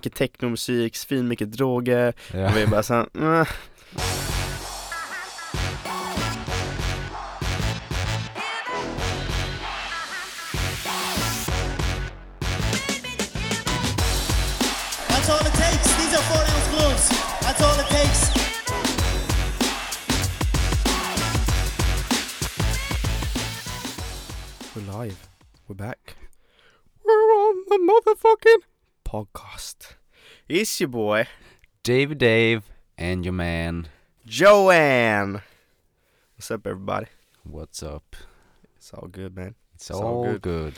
mycket technomusik, svin mycket droger Ja. och vi bara såhär, "Mäh." That's all it takes. These are four ounce gloves. That's all it takes. We're live, we're back We're on the motherfucking podcast It's your boy Dave Dave and your man, Joanne What's up everybody? what's up? It's all good man It's So all good. good.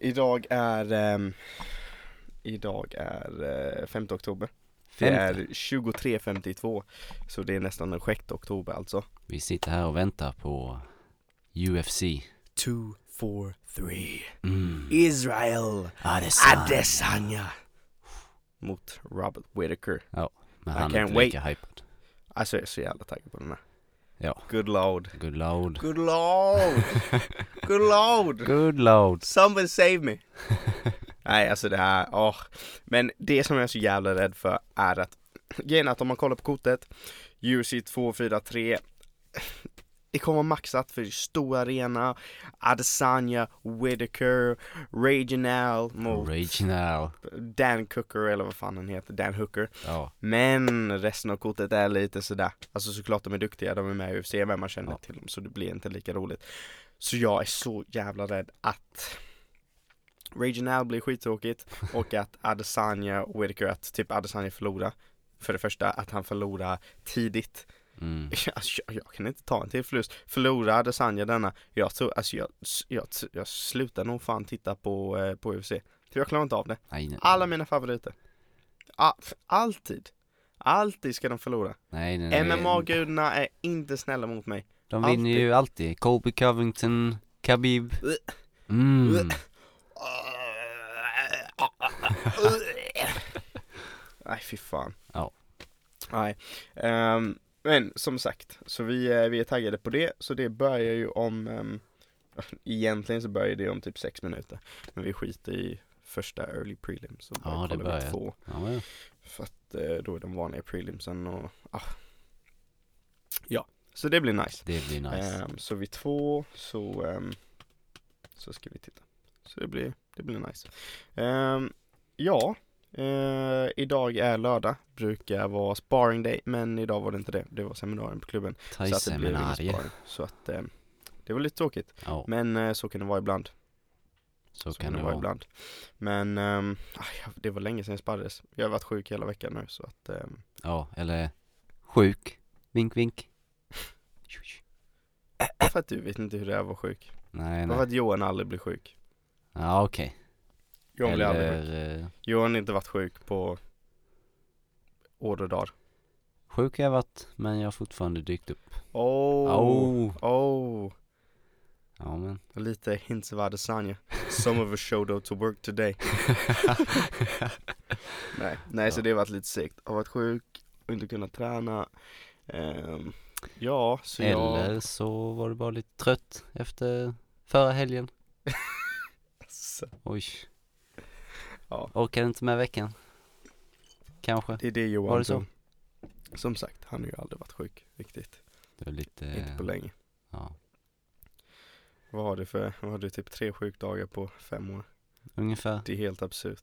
Idag är, ehm, idag är eh, 5 oktober Det Femte. är 23.52 Så det är nästan den 6 oktober alltså Vi sitter här och väntar på UFC. Two, four, three. Mm. Israel Ah, Ah, Adesanya Alltså. Mot Robert Whitaker Men I han är can't inte lika hypad. Alltså jag är så jävla taggad på den här Ja. Good lord Good loud. Good lord Good lord Good loud. Someone save me Nej alltså det här, åh Men det som jag är så jävla rädd för är att Grejen är att om man kollar på kortet UFC 243 Det kommer maxat för det är stor arena Adesanya, Whitaker, Reginald mot Original. Dan Cooker eller vad fan han heter, Dan Hooker Ja. Men resten av kortet är lite sådär Alltså såklart de är duktiga, de är med i UFC, men man känner Ja. till dem så det blir inte lika roligt Så jag är så jävla rädd att Regional blir skittråkigt och att Adesanya och Whitaker, att typ Adesanya förlorar För det första att han förlorar tidigt Mm. alltså, jag, jag kan inte ta en till förlust Förlorar Adesanya denna, jag tror, alltså jag, jag, jag slutar nog fan titta på, eh, på UFC För jag klarar inte av det Nej, nej. alla mina favoriter. Ah, f- alltid. Alltid ska de förlora. nej, nej, nej. MMA-gudarna är inte snälla mot mig. De vinner ju alltid. Colby Covington, Khabib. Mm. Nej, fy fan. Ja. Nej. Ehm, men som sagt, så vi, eh, vi är taggade på det. Så det börjar ju om... Um, egentligen så börjar det om typ sex minuter. Men vi skiter i första early prelims. Så Ja, bara det kollar vi börjar. Två. Ja, ja. För att eh, då är de vanliga prelimsen och ah. Ja, så det blir nice. det blir nice. Ehm, så vid två så, ehm, så ska vi titta. Så det blir, det blir nice. Ehm, ja, eh, idag är lördag, brukar vara sparring day, men idag var det inte det. Det var seminarium på klubben. så att det blev ingen Thai-seminarier. sparring. Så att ehm, det var lite tråkigt, Ja, men eh, så kan det vara ibland. så Så kan det vara vara. ibland. Men ehm, aj, det var länge sedan jag sparrades. Jag har varit sjuk hela veckan nu så att ehm, Ja, eller sjuk. Vink, vink. Bara för att du vet inte hur det är att vara sjuk. Nej, Bara för nej. att Johan aldrig blir sjuk. Ja, okej. Johan blir aldrig sjuk. Eller eh, Johan har inte varit sjuk på år och dag. sjuk har jag varit, men jag har fortfarande dykt upp. Oh. oh. Au. Ja, men. Lite hints av Adesanya. Some of us showed up to work today. nej, nej så Ja. det har varit lite segt. Har varit sjuk, inte kunnat träna. Ehm, ja, så jag... Eller så var du bara lite trött efter förra helgen. Så Oj. Ja. Orkade inte med veckan. Kanske. Det är det Johan Var det så? som... Som sagt, han har ju aldrig varit sjuk riktigt. Det var lite... Inte på länge. ja, Vad har du för, vad har du typ tre sjukdagar på fem år? ungefär. Det är helt absurt.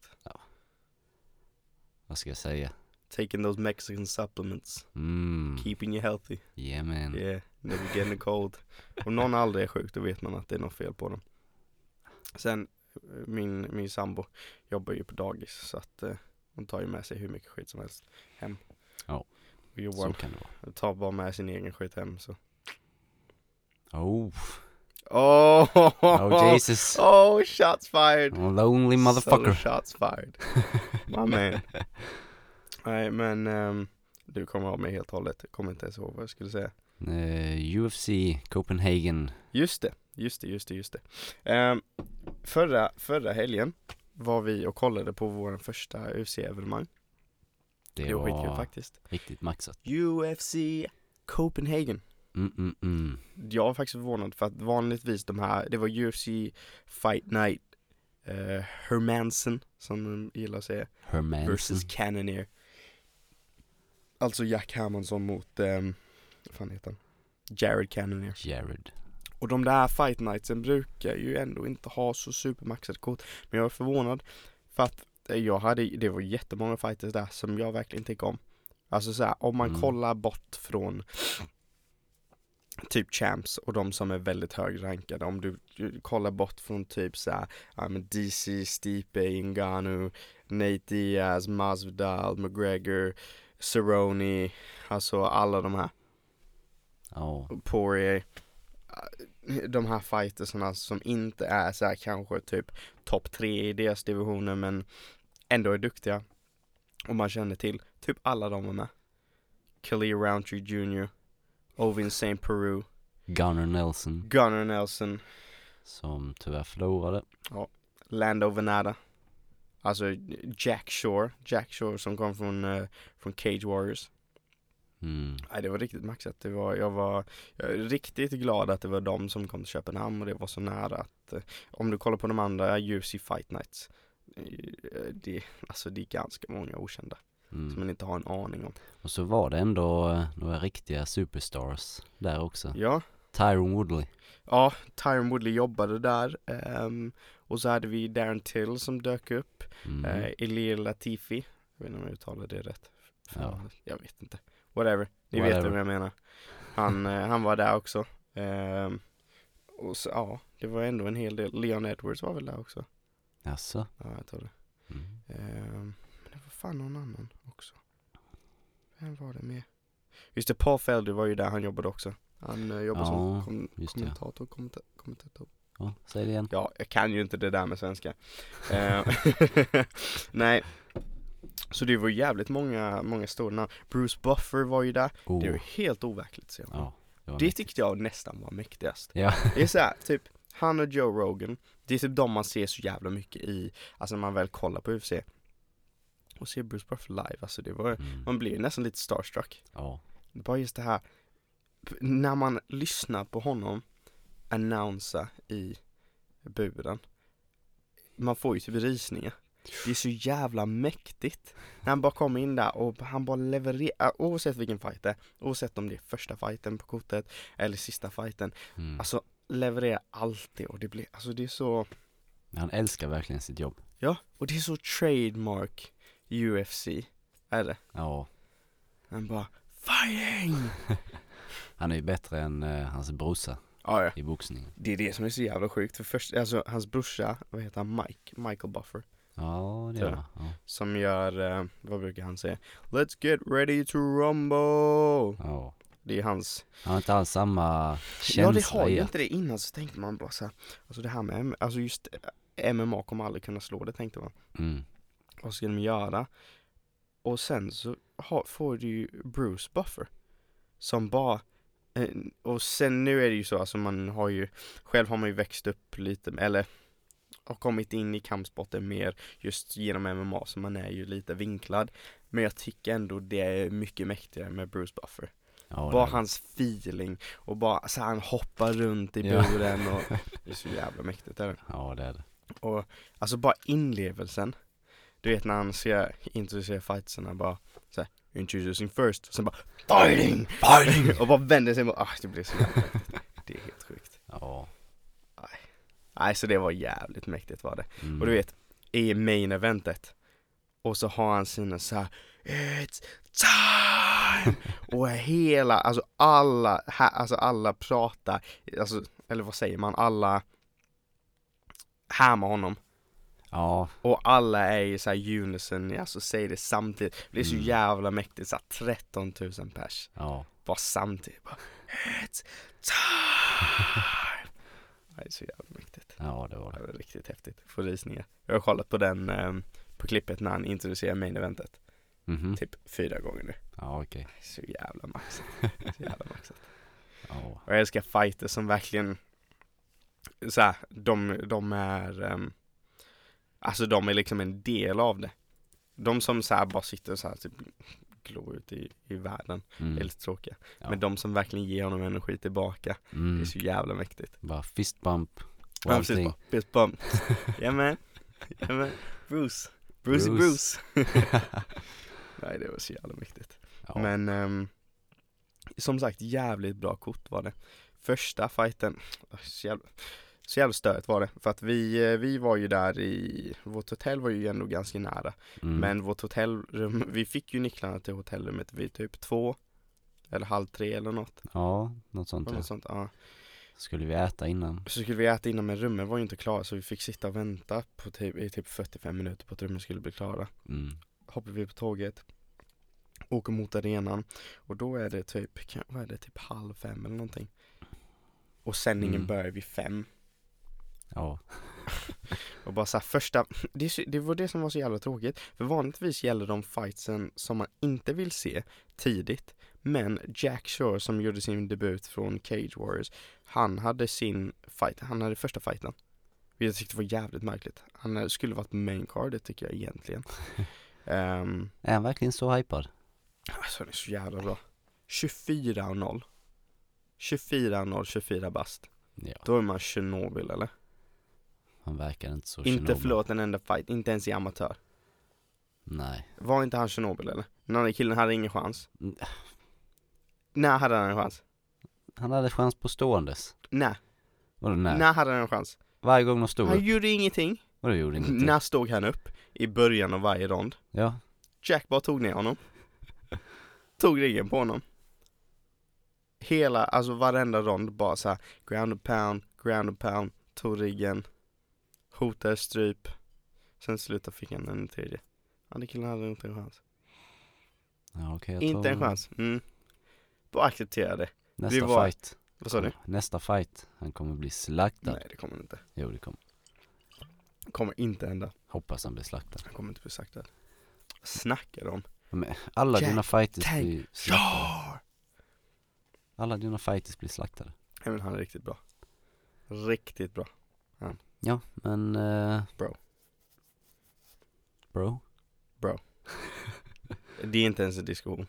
Vad ska jag säga? Taking those Mexican supplements, Mm. keeping you healthy. Yeah, man. Yeah, never getting a cold. Om någon aldrig är sjuk då vet man att det är något fel på dem. Sen, eh, min, min sambo jobbar ju på dagis så att eh, hon tar ju med sig hur mycket skit som helst hem. Ja. Och Så Johan kan det vara. tar bara med sin egen skit hem så. Oh. Oh, Oh Jesus. oh shots fired! I'm a lonely Solo motherfucker. shots fired. My man. Nej men ehm, du kommer av mig helt och hållet. Jag Kommer inte ens ihåg vad jag skulle säga. Eh, UFC Copenhagen. Just det, just det, just det, just det. Ehm, förra, förra helgen var vi och kollade på vår första UFC-evenemang. Det, Det var skitkul var faktiskt. riktigt maxat. UFC Copenhagen. Mm, mm, mm. Jag var faktiskt förvånad för att vanligtvis de här, det var UFC Fight Night eh, Hermansen, som de gillar att säga, Hermansen. versus Cannoneer. Alltså Jack Hermansson mot, ehm, vad fan heter han? Jared Cannoneer. Jared. Och de där Fight Nightsen brukar ju ändå inte ha så supermaxade kort. Men jag är förvånad för att eh, jag hade, det var jättemånga fighters där som jag verkligen tycker om. Alltså så här, om man Mm. kollar bort från typ champs och de som är väldigt högrankade. Om du, du kollar bort från typ så här, ja, men DC, Stipe, Ngannou, Nate Diaz, Masvidal, McGregor, Cerrone, alltså alla de här. Ja. Poirier eh, de här fightersarna som inte är så här kanske typ topp tre i deras divisioner men ändå är duktiga. Och man känner till typ alla de var med. Khalil Roundtree Jr. Ovin St. Peru, Gunnar Nelson Gunnar Nelson, som tyvärr förlorade. Lando Venada. Alltså Jack Shore, Jack Shore som kom från, eh, från Cage Warriors. Mm. Nej det var riktigt maxat. Det var, jag, var, jag är riktigt glad att det var de som kom till Köpenhamn och det var så nära att eh, om du kollar på de andra UFC Fight Nights eh, det, alltså det är ganska många okända som Mm. man inte har en aning om. Och så var det ändå eh, några riktiga superstars där också. Ja, Tyron Woodley. ja Tyron Woodley jobbade där ehm, och så hade vi Darren Till som dök upp, Mm. mm. Elir Latifi, jag vet inte om jag uttalar det rätt. Ja. Jag vet inte. Whatever. Ni vet Whatever. vem jag menar. Han, eh, han var där också. Ehm, och så, ja, det var ändå en hel del. Leon Edwards var väl där också? Jaså? Ja, jag tror det. Mm. Ehm, men det var fan någon annan också. Vem var det med? Just det, Paul Felder var ju där, han jobbade också. Han eh, jobbade Ja, som kom- just det. kommentator, kommenta- kommentator. Ja, säg det igen. Ja, jag kan ju inte det där med svenska. Ehm, Nej. Så det var jävligt många, många stora namn. Bruce Buffer var ju där. Oh. Det var helt overkligt ser man. Ja. Det var Det mitt. tyckte jag nästan var mäktigast. Ja. Det är så här, typ han och Joe Rogan, det är typ de man ser så jävla mycket i, alltså när man väl kollar på UFC. Och ser Bruce Buffer live, alltså det var, Mm. man blir ju nästan lite starstruck. Ja. Bara just det här, p- när man lyssnar på honom annonsa i buren, man får ju typ rysningar. Det är så jävla mäktigt. När han bara kommer in där och han bara levererar, oavsett vilken fight det är, oavsett om det är första fighten på kortet eller sista fighten, Mm. Alltså levererar alltid och det blir, alltså det är så, Han älskar verkligen sitt jobb. ja, och det är så trademark UFC, är det. Ja. Han bara FIRING! Han är ju bättre än eh, hans brorsa Ja, ja. i boxningen. Det är det som är så jävla sjukt, för först, alltså hans brorsa, vad heter han, Mike, Michael Buffer, Ja, det Så. gör han. Ja. som gör, eh, vad brukar han säga? Let's get ready to rumble! ja. Det är hans, Han har inte alls samma ja det känsla har i ju att... inte det innan så tänkte man bara så här, alltså det här med, M- alltså just eh, MMA kommer aldrig kunna slå det tänkte man. Mm. vad ska de göra? Och sen så ha, får du ju Bruce Buffer som bara eh, och sen nu är det ju så, alltså man har ju, själv har man ju växt upp lite, eller har kommit in i kampsporten mer just genom MMA, så man är ju lite vinklad. Men jag tycker ändå det är mycket mäktigare med Bruce Buffer. Ja, bara det- hans feeling och bara så här, han hoppar runt i Ja. buren och det är så jävla mäktigt. Är det? Ja, det är det. Och alltså bara inlevelsen. Du vet när han ska introducera fightsen, bara såhär introducing first, och sen bara fighting! Fighting! och bara vänder sig mot, ah det blir så jävla mäktigt. Det är helt sjukt. Ja. Nej så det var jävligt mäktigt var det. Mm. Och du vet, i main eventet, och så har han sina såhär It's time! och hela, alltså alla, här, alltså alla pratar, alltså, eller vad säger man, alla härmar honom. Ja, Och alla är ju såhär unison, alltså säger det samtidigt. Det blir så Mm. jävla mäktigt såhär 13 000 pers. ja. Bara samtidigt bara It's time! det är så jävla mäktigt. Ja, det var Det det. var riktigt häftigt. Får rysningar. Jag har kollat på den, ehm, på klippet när han introducerar main eventet. Mhm. Typ fyra gånger nu. Ja, okej. Så jävla maxat. Så jävla maxat. Ja. Och jag älskar fighters som verkligen såhär, de, de är ehm, Alltså de är liksom en del av det De som såhär bara sitter såhär typ glor ut i, i världen, Mm. det är lite tråkiga Ja. Men de som verkligen ger honom energi tillbaka, Mm. det är så jävla mäktigt Bara fist bump och Ja precis, allting. bara, fist bump. Jajamän, Ja, men Bruce. Brucey Bruce. Bruce. Nej, det var så jävla mäktigt. Ja. Men ehm, som sagt, jävligt bra kort var det. Första fighten, ah, så jävla, så jävla stört var det. För att vi, eh, vi var ju där i, vårt hotell var ju ändå ganska nära. Mm. Men vårt hotellrum, vi fick ju nycklarna till hotellrummet vid typ två eller halv tre eller något. Ja, något sånt ja. Något sånt, ja. Skulle vi äta innan? Så skulle vi äta innan men rummen var ju inte klara så vi fick sitta och vänta på typ, i typ 45 minuter på att rummen skulle bli klara. Mm. Hoppar vi på tåget, åker mot arenan och då är det typ, kan- vad är det, typ halv fem eller någonting. Och sändningen Mm. börjar vid fem. Ja. Och bara så här, första, det, är så- det var det som var så jävla tråkigt. För vanligtvis gäller de fightsen som man inte vill se tidigt. Men Jack Shore som gjorde sin debut från Cage Warriors, han hade sin fight, han hade första fighten. Vilket jag tyckte var jävligt märkligt. Han eh, skulle varit main cardet tycker jag egentligen. um, Är han verkligen så hypad? alltså han är så jävla bra. 24 och 0. 24 och 0, 24 bast. Ja, Då är man Tjernobyl eller? han verkar inte så Inte Chernobyl. förlorat en enda fight, inte ens i amatör. Nej. Var inte han Tjernobyl eller? Den andra killen hade ingen chans. Mm. När hade han en chans? Han hade chans på ståendes. När? Vadå nej? När hade han en chans? Varje gång de stod Han upp. gjorde ingenting. Vadå gjorde ingenting? När stod han upp? I början av varje rond. Ja. Jack bara tog ner honom. Tog ryggen på honom. Hela, alltså varenda rond bara så här, ground and pound, ground and pound, tog ryggen, hotade stryp. Sen slutade fick han en tredje. Andra killen hade inte en chans. ja okej, jag tar Inte en chans. Mm. Bara acceptera det. Nästa Det var- fight. Vad sa du? Nästa fight. Han kommer bli slaktad. Nej det kommer inte. Jo det kommer. Kommer inte hända. Hoppas han blir slaktad. Han kommer inte bli saktad. Vad snackar de? Men alla Jack dina fighters Tank blir slaktade. Alla dina fighters blir slaktade. Nej men han är riktigt bra. Riktigt bra. Ja, men... eh, Bro. Bro? Det är inte ens en diskussion.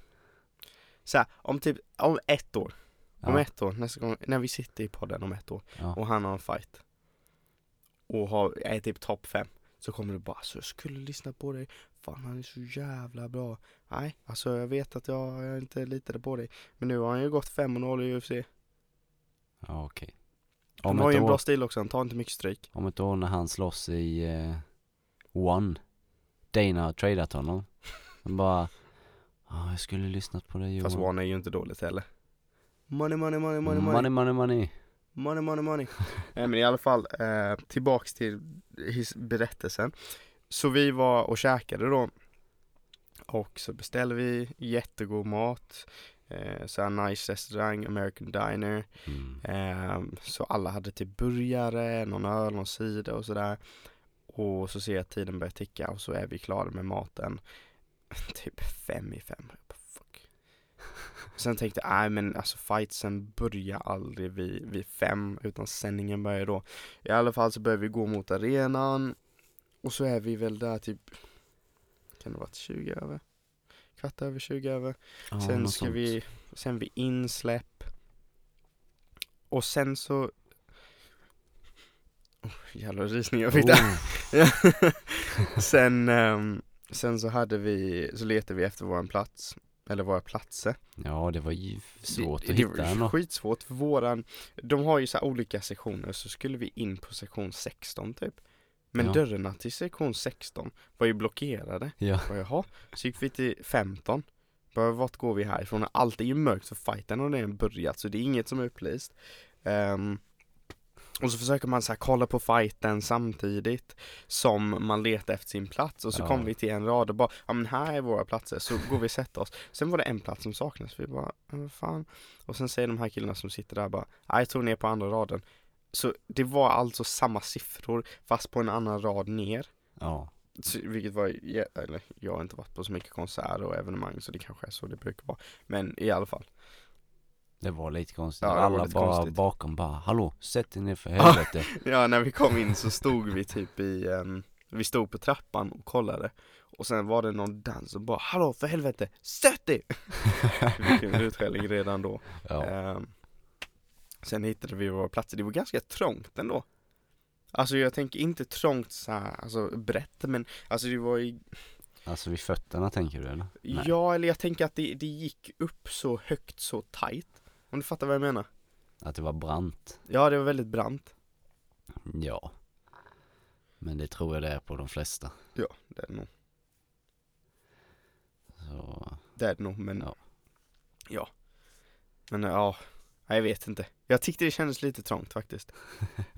Så här, om typ, om ett år. Om Ja. ett år, nästa gång, när vi sitter i podden om ett år Ja. och han har en fight. Och har, är typ topp fem. Så kommer du bara, alltså jag skulle lyssna på dig. Fan han är så jävla bra. Nej, alltså jag vet att jag, jag inte litade på dig. Men nu har han ju gått 5-0 i UFC. Ja okej. Han Om, har ju ett en år- bra stil också, han tar inte mycket stryk. om ett år när han slåss i eh, One. Dana har tradat honom. Han bara... Ja, jag skulle lyssnat på dig Johan. Fast Warner är ju inte dåligt heller. Money, money, money, money, money, Mm, money, money, money, money, money, money. Nej men i alla fall, eh, tillbaks till his berättelsen. Så vi var och käkade då. Och så beställde vi jättegod mat. Eh, så här nice restaurang, American Diner. Mm. Ehm, Så alla hade typ burgare, någon öl, någon cider och sådär. Och så ser jag att tiden börjar ticka och så är vi klara med maten. Typ fem i fem. Jag bara, fuck. Sen tänkte jag, nej men alltså fightsen börjar aldrig vid, vid fem utan sändningen börjar då. I alla fall så börjar vi gå mot arenan och så är vi väl där typ, kan det ha varit 20 över? Kvart över, 20 över. Ja, Sen något ska sånt. Oh. vi, sen vid insläpp. Och sen så... Oh, jävlar rysningar jag fick där. Oh, sen, ehm, sen så hade vi, så letade vi efter våran plats. Eller våra platser. Ja, det var ju svårt det, att det hitta var ju något. skitsvårt. För våran, de har ju så här olika sektioner så skulle vi in på sektion 16 typ. Men Ja. dörrarna till sektion 16 var ju blockerade. Ja, Bara, jaha, så gick vi till 15 Bara, vart går vi härifrån? Allt är ju mörkt för fighten har redan börjat så det är inget som är upplyst Ehm, Och så försöker man så här, kolla på fighten samtidigt Som man letar efter sin plats och så Ja. kommer vi till en rad och bara Ja men här är våra platser, så går vi och sätter oss Sen var det en plats som saknades, vi bara "Ja, vad fan Och sen säger de här killarna som sitter där bara "Ja, jag tog ner på andra raden Så det var alltså samma siffror fast på en annan rad ner ja, så- Vilket var, jä- eller jag har inte varit på så mycket konserter och evenemang så det kanske är så det brukar vara Men i alla fall det var lite konstigt. Ja, det var Alla lite bara konstigt. bakom bara, hallå, sätt dig ner för helvete. Ja när vi kom in så stod vi typ i, em, vi stod på trappan och kollade Och sen var det någon dans som bara 'Hallå för helvete, stöt dig!' Vilken Eh. utskällning redan då ja. Ehm, Sen hittade vi våra platser, det var ganska trångt ändå Alltså jag tänker inte trångt så här, alltså brett men alltså det var ju, Alltså vid fötterna tänker du eller? Nej. ja eller jag tänker att det, det gick upp så högt så tight. Om du fattar vad jag menar? Att det var brant? Ja det var väldigt brant. Ja. Men det tror jag det är på de flesta. Ja det är det nog. Så, Det är det nog men ja. Ja. ja. Men ja, nej, jag vet inte. Jag tyckte det kändes lite trångt faktiskt.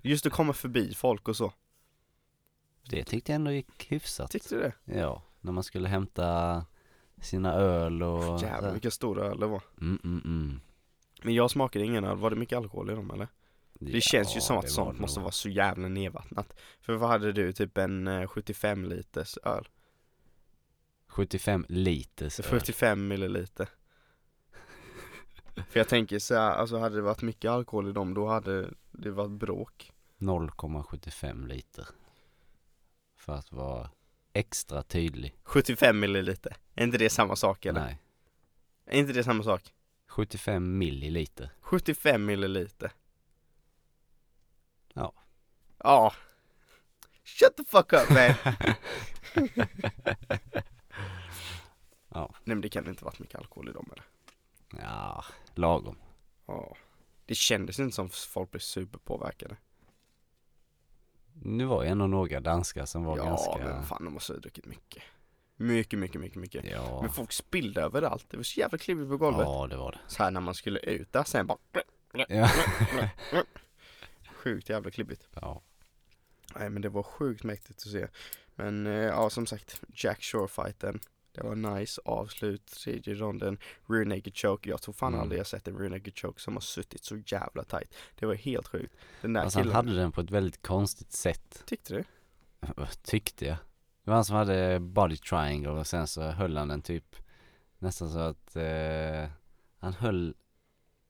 Just att komma förbi folk och så. det tyckte jag ändå gick hyfsat. Tyckte du det? Ja, när man skulle hämta sina öl och... Jävlar vilka stora öl det var. Mm, mm, mm. Men jag smakade ingen öl, var det mycket alkohol i dem eller? Det känns ju som att sånt måste vara så jävla nedvattnat. För vad hade du? Typ en eh, 75 liters öl? 75 liters öl. 75 milliliter. För jag tänker så här, alltså hade det varit mycket alkohol i dem då hade det varit bråk. 0,75 liter. För att vara extra tydlig. 75 milliliter, är inte det samma sak eller? Nej. Är inte det samma sak? 75 milliliter. 75 milliliter. Ja. Ja. Shut the fuck up man. Ja. Nej men det kan inte varit mycket alkohol i dem eller? Ja, lagom. Ja. Det kändes inte som folk blev superpåverkade. Nu var ju ändå några danskar som var ja ganska... men fan de måste ha druckit mycket. Mycket, mycket, mycket, mycket. Ja, Men folk spillde överallt. Det var så jävla klibbigt på golvet. ja det var det. Så här när man skulle ut där sen bara. Ja. Sjukt jävla klibbigt. ja. Nej men det var sjukt mäktigt att se. Men eh, ja som sagt, Jack Shore-fighten. Det var nice avslut, tredje ronden, rear naked choke. Jag tror fan Mm. aldrig jag sett en rear naked choke som har suttit så jävla tight. Det var helt sjukt. Den där Alltså han killen, hade den på ett väldigt konstigt sätt. tyckte du? Tyckte jag. Det var han som hade body triangle och sen så höll han den typ nästan så att eh, han höll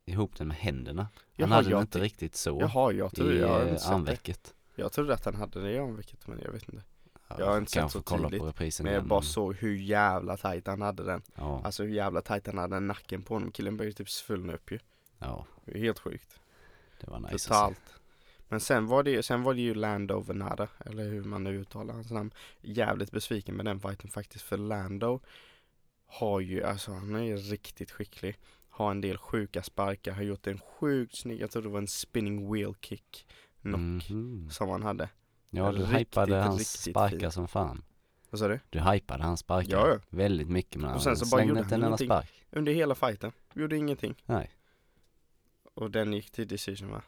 ihop den med händerna. Jaha, han hade jag den inte ty- riktigt så Jaha, jag trodde, i jag har inte eh, sett det. armvecket. Jag trodde att han hade det i armvecket men jag vet inte. Ja, Jag har inte sett kanske så kolla tydligt, på reprisen Men jag igen, bara såg hur jävla tight han hade den. Ja, Alltså hur jävla tight han hade nacken på honom. Killen började typ svullna upp ju. ja, Det är helt sjukt. det var nice att se. Totalt. Men sen var det ju, sen var det ju Lando Venada, eller hur man nu uttalar hans namn. Jävligt besviken med den fighten faktiskt, för Lando har ju, alltså han är ju riktigt skicklig. Har en del sjuka sparkar, har gjort en sjukt snygg, jag tror det var en spinning wheel kick knock Mhm. som han hade. Ja, du Riktigt, hypade hans riktigt sparkar fint. som fan. Vad sa du? Du hypade hans sparkar Ja, ja. väldigt mycket men Och han sen så bara gjorde slängde inte han en enda ingenting. spark. Under hela fighten, gjorde ingenting. Nej, Och den gick till decision va?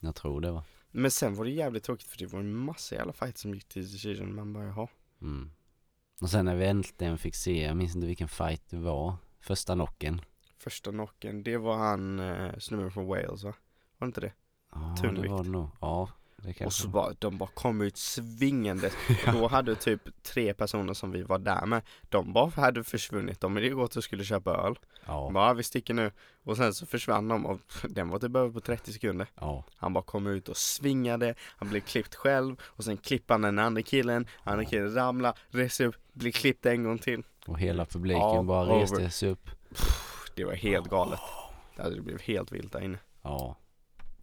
jag tror det var. Men sen var det jävligt tråkigt för det var en massa jävla fighter som gick till decision, man bara jaha. Mm. Och sen när vi äntligen fick se, jag minns inte vilken fight det var, första knocken. Första knocken, det var han eh, snubben från Wales va? Var det inte det? Ja, det Tungvikt. var det nog. Ja, det kanske Och så var. bara, de bara kom ut svingande. Då hade typ tre personer som vi var där med, de bara hade försvunnit. De hade gått och skulle köpa öl. Ja, De bara, "Ja, vi sticker nu. Och sen så försvann de och den var typ över på 30 sekunder. ja, Han bara kom ut och svingade, han blev klippt själv och sen klippte han den andra killen, andra killen ramlade, reste upp, blev klippt en gång till. och hela publiken Ja, bara over. reste sig upp. Det var helt galet. Alltså, Det blev helt vilt där inne. Ja.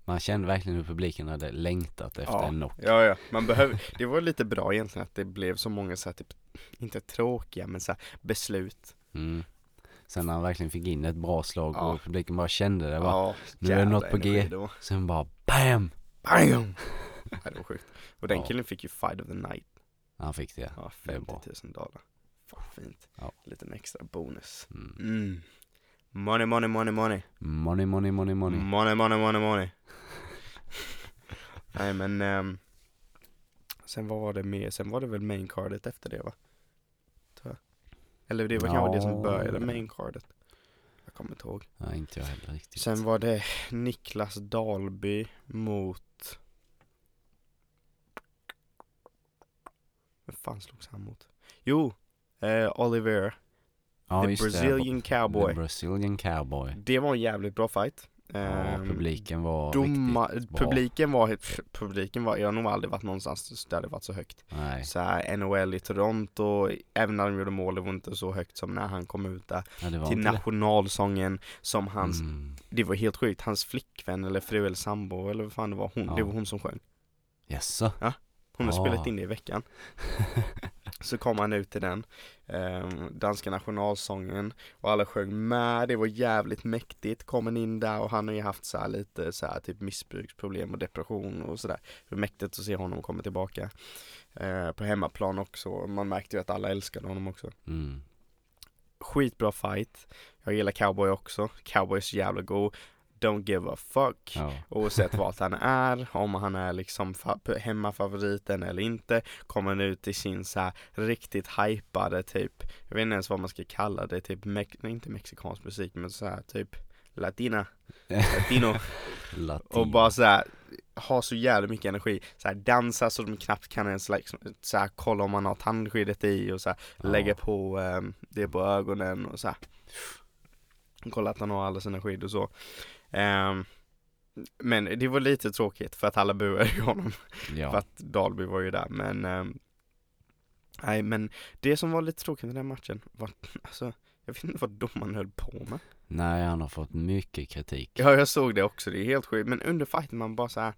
Man kände verkligen hur publiken hade längtat efter Ja. en knock. Ja, ja, man behöver, det var lite bra egentligen att det blev så många så här, typ, inte tråkiga men så här, beslut. Mm. Sen när han verkligen fick in ett bra slag Ja. och publiken bara kände det. Bara, ja, nu är det jävla något på G. energi det var. Sen bara BAM! Bam! Nej, det var sjukt. Och den Ja. killen fick ju fight of the night. Han fick det. Ja, Det är 50 bra. 000 dollar. Fan, fint. Ja. Liten extra bonus. Mm. Mm. Money, money, money, money. Money, money, money, money. Money, money, money, money. Nej men ehm, Sen vad var det mer? Sen var det väl main cardet efter det va? Tror jag. Eller det var kanske det som Ja. började main cardet. Jag kommer inte ihåg. Nej, inte jag heller riktigt. Sen var det Niklas Dalby mot Vem fan slogs han mot? Jo! Eh, Oliver, ja, the just Brazilian det. cowboy. The Brazilian cowboy. Det var en jävligt bra fight. Ja, Ehm, publiken var Doma, riktigt bra. publiken var, pff, publiken var, jag har nog aldrig varit någonstans där det varit så högt. Nej, Så här, NHL i Toronto, även när de gjorde mål, det var inte så högt som när han kom ut där. ja, det var Till inte det. nationalsången som hans, Mm. det var helt sjukt, hans flickvän eller fru eller sambo eller vad fan det var, hon, Ja. det var hon som sjöng. Jaså? Hon har Ah. spelat in det i veckan. Så kom han ut till den, eh, danska nationalsången och alla sjöng med, det var jävligt mäktigt. Kom han in där och han har ju haft så här lite så här typ missbruksproblem och depression och sådär. Det var mäktigt att se honom komma tillbaka eh, på hemmaplan också. Man märkte ju att alla älskade honom också. Mm. Skitbra fight. Jag gillar cowboy också. Cowboy är så jävla god. Don't give a fuck Ja. oavsett vart han är, om han är liksom fa- hemmafavoriten eller inte, kommer han ut i sin så här riktigt hypade typ, jag vet inte ens vad man ska kalla det, typ, mex- nej, inte mexikansk musik, men så här typ latina, latino Latin. och bara så här har så jävla mycket energi, så här dansar så de knappt kan ens liksom, så här kolla om man har tandskyddet i och så här Ja. lägga på ehm, det på ögonen och så här. Kolla att han har alla sina skydd och så. Ehm, men det var lite tråkigt för att alla buade ju honom för Ja. att Dalby var ju där men ehm, Nej men det som var lite tråkigt med den här matchen var alltså Jag vet inte vad domaren höll på med Nej, han har fått mycket kritik. Ja jag såg det också, det är helt sjukt men under fighten man bara så här.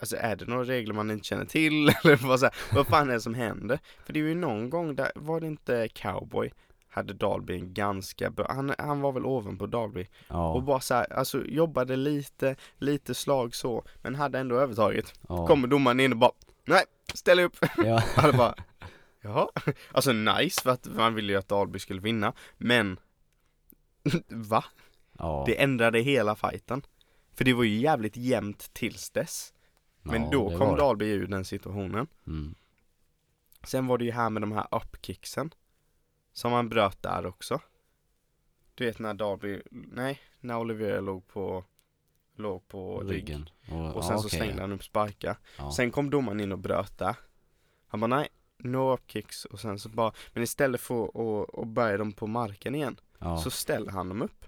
Alltså är det några regler man inte känner till eller vad så här, vad fan är det som händer? För det är ju någon gång där, var det inte cowboy? Hade Dalby en ganska bra, han, han var väl ovanpå Dalby och Ja. bara så här, alltså jobbade lite, lite slag så men hade ändå övertaget ja. kommer domaren in och bara Nej, ställ upp! Ja. Alla bara Jaha? Alltså nice för att man ville ju att Dalby skulle vinna Men Va? ja. Det ändrade hela fighten För det var ju jävligt jämnt tills dess Men ja, då det kom var det. Dalby ur den situationen Mm. Sen var det ju här med de här upkicksen Som han bröt där också Du vet när Dalby, nej, när Olivier låg på Låg på rygg Ryggen. Och, Och sen ja, så okej, stängde han upp sparkar ja. Sen kom domaren in och bröt det. Han bara nej, no upkicks och sen så bara, men istället för att och, och bärga dem på marken igen ja. så ställer han dem upp.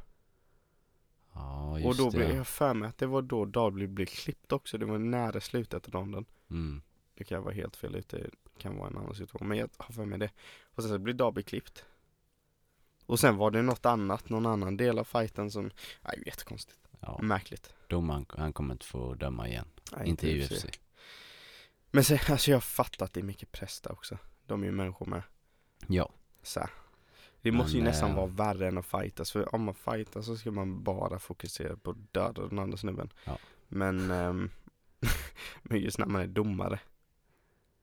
ja, och just då det. blev jag för mig att det var då Dalby blev klippt också, det var nära slutet av ronden. Mm. Det kan jag vara helt fel ute, det kan vara en annan situation, men jag har för mig det. Och sen så blev Dalby klippt. Och sen var det något annat, någon annan del av fighten som, nej jättekonstigt, Ja. märkligt. Domaren, han kommer inte få döma igen. Nej, inte i UFC. Men sen, alltså jag fattar att det är mycket press där också. De är ju människor med. Ja. Så här. Det Men, måste ju nästan eh, vara värre än att fightas för om man fightas så ska man bara fokusera på att döda den andra snubben Ja. Men ehm, Men just när man är domare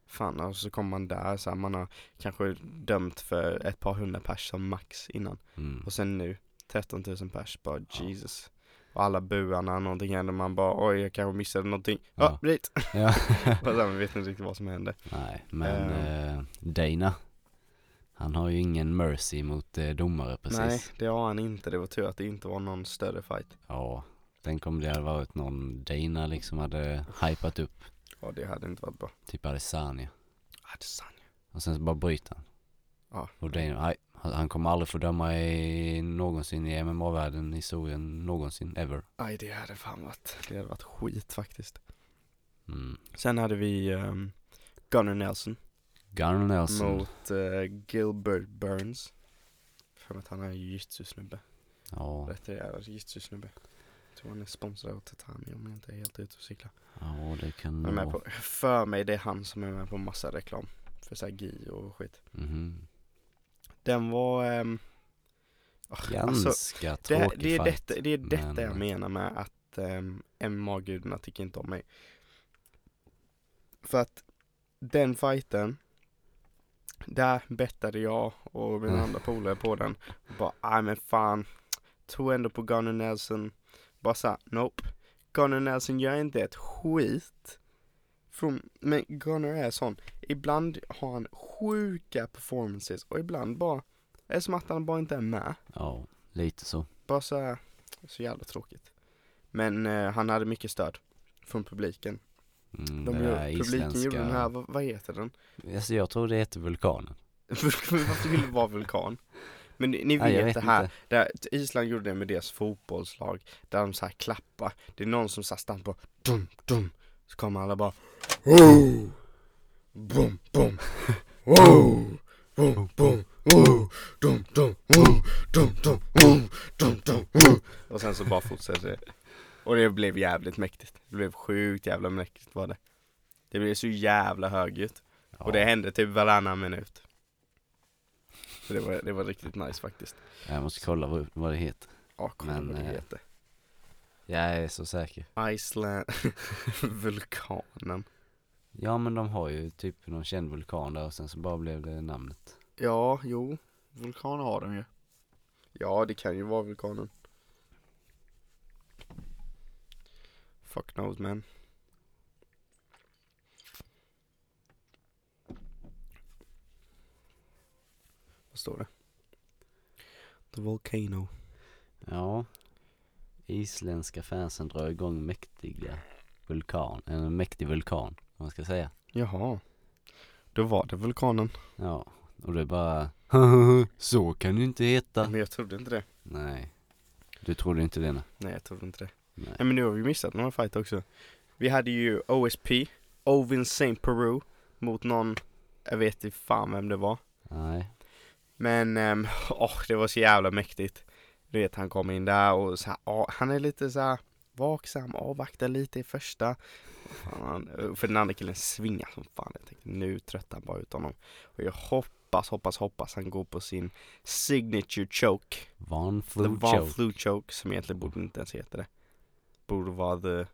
Fan och så kommer man där så här, man har kanske dömt för ett par hundra pers som max innan Mm. Och sen nu 13 000 pers bara Ja. Jesus Och alla buar när någonting händer man bara oj jag kanske missade någonting Ja, Ja. ah, dit! Ja. Och sen vet inte riktigt vad som hände Nej, men eh, Dana. Han har ju ingen mercy mot eh, domare precis. Nej det har han inte, det var tur att det inte var någon större fight Ja. Tänk om det hade varit någon Dana liksom hade hypat upp. Ja det hade inte varit bra. Typ Adesanya. Adesanya. Och sen så bara bryter han. Ja. Och Dana, nej, han han kommer aldrig få döma i någonsin i MMA-världen, i historien, någonsin, ever. Aj det hade fan varit, det hade varit skit faktiskt. Mm. Sen hade vi um, Gunnar Nelson Gunnar Nelson. mot eh, Gilbert Burns. För att han är jitsu-snubbe. Ja, Rätt det är jitsu-snubbe. Jag tror han är sponsrad av Tatami om jag inte är helt ute och cyklar. ja det kan Han är med nog på, för mig det är han som är med på massa reklam. För såhär GI och skit. Mhm. Den var ehm, ah, Ganska Det, tråkig här- det är fight. detta, det är detta men- jag menar med att um, MMA-gudarna tycker inte om mig. För att den fighten, där bettade jag och mina Mm. andra polare på den. Och bara, nej men fan, tog ändå på Gunnar Nelson. Bara såhär, nope. Gunnar Nelson gör inte ett skit. Från, men Gunnar är sån, ibland har han sjuka performances och ibland bara, det är som att han bara inte är med. Ja, lite så. Bara så här, så jävla tråkigt. Men eh, han hade mycket stöd från publiken. Mm, De det gör, där publiken gjorde den här, vad, vad heter den? Alltså jag tror det heter vulkanen. Varför vill det vara vulkan? Men ni, ni vet, Nej, jag det vet här, inte. där Island gjorde det med deras fotbollslag, där de så här klappar. Det är någon som så här stampar, dum, dum. Så kommer alla bara, oh! Bum, bum, oh! Bum, bum, oh! Dum, dum, oh! Dum, dum, oh! Dum, dum, oh! Och sen så bara fortsätter det. Och det blev jävligt mäktigt. Det blev sjukt jävla mäktigt var det. Det blev så jävla högljutt. Ja. Och det hände typ varannan minut. Så det var, det var riktigt nice faktiskt. Jag måste kolla vad, vad det heter. Ja, kolla Men, vad det eh, heter. Jag är så säker. Iceland, vulkanen. Ja men de har ju typ någon känd vulkan där och sen så bara blev det namnet. Ja, jo. Vulkan har de ju. Ja, det kan ju vara vulkanen. Fuck knows man. Vad står det? The Volcano. Ja. Isländska fansen drar igång mäktiga vulkan, en mäktig vulkan, om man ska säga. Jaha. Då var det vulkanen. Ja, och det är bara så kan du inte heta. Men jag trodde inte det. Nej. Du trodde inte det? nej? Nej, jag trodde inte det. Nej. Nej men nu har vi missat några fight också. Vi hade ju OSP, Ovin Saint Peru mot någon, jag vet inte fan vem det var. Nej. Men ehm, åh, det var så jävla mäktigt. Du vet han kom in där och så här, ja, han är lite så här vaksam, avvaktar lite i första. Fan, han, för den andra killen svingar som fan. Jag tänkte nu tröttar han bara ut honom. Och jag hoppas, hoppas, hoppas han går på sin signature choke. Van Det Flu var Choke. flu choke som egentligen borde inte ens heta det. Borde vara the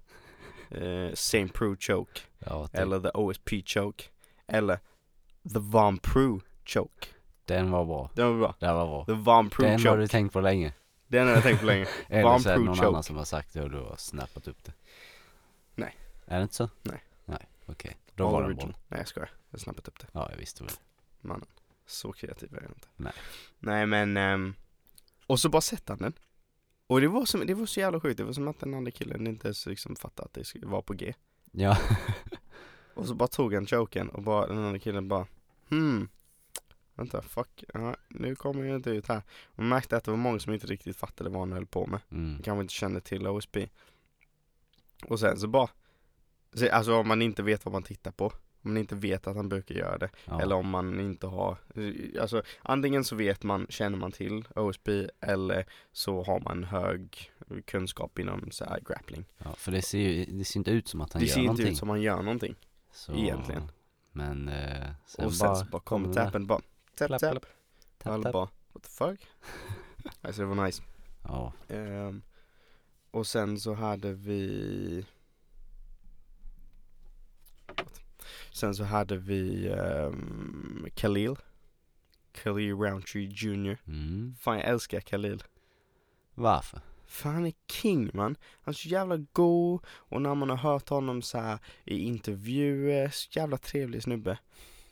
eh, Saint Pro choke. Ja, typ. Eller the OSP choke. Eller the Von Pru choke. den var bra. Den var bra. Den var bra. The Von Pru Den choke. har du tänkt på länge. Den har jag tänkt på länge. Eller Van så är det Pru någon choke. annan som har sagt det och du har snappat upp det. Nej. Är det inte så? Nej. Nej, okej. Då var den bra. Original. Nej jag skojar. Jag snappat upp det. Ja, jag visste väl. Mannen. Så kreativ är jag inte. Nej. Nej men. ehm, och så bara sätter han den. Och det var, som, det var så jävla sjukt. Det var som att den andra killen inte ens liksom fattade att det skulle- var på G. Ja, Och så bara tog han choken och bara, den andra killen bara hmm Vänta, fuck, ja, nu kommer jag inte ut här. Och märkte att det var många som inte riktigt fattade vad han höll på med. mm. De kanske inte kände till OSP. Och sen så bara, så- alltså om man inte vet vad man tittar på. Om man inte vet att han brukar göra det. ja. Eller om man inte har, alltså antingen så vet man, känner man till OSP eller så har man hög kunskap inom så här grappling. ja för det ser ju det ser inte ut som att han det gör ser inte någonting. ut som man gör någonting. så... egentligen. Men eh, sen och sen bara Mm. så bara kommer den där. tappen bara, tap Klapp, tap. klapp. Och alla Tapp, tapp. bara, what the fuck? alltså det var nice. Ja, Ehm, och sen så hade vi Förlåt. Sen så hade vi ehm, Khalil Khalil Roundtree Jr. mm. Fan jag älskar Khalil. Varför? För han är king man. Han är så jävla go och när man har hört honom så här i intervjuer, så jävla trevlig snubbe.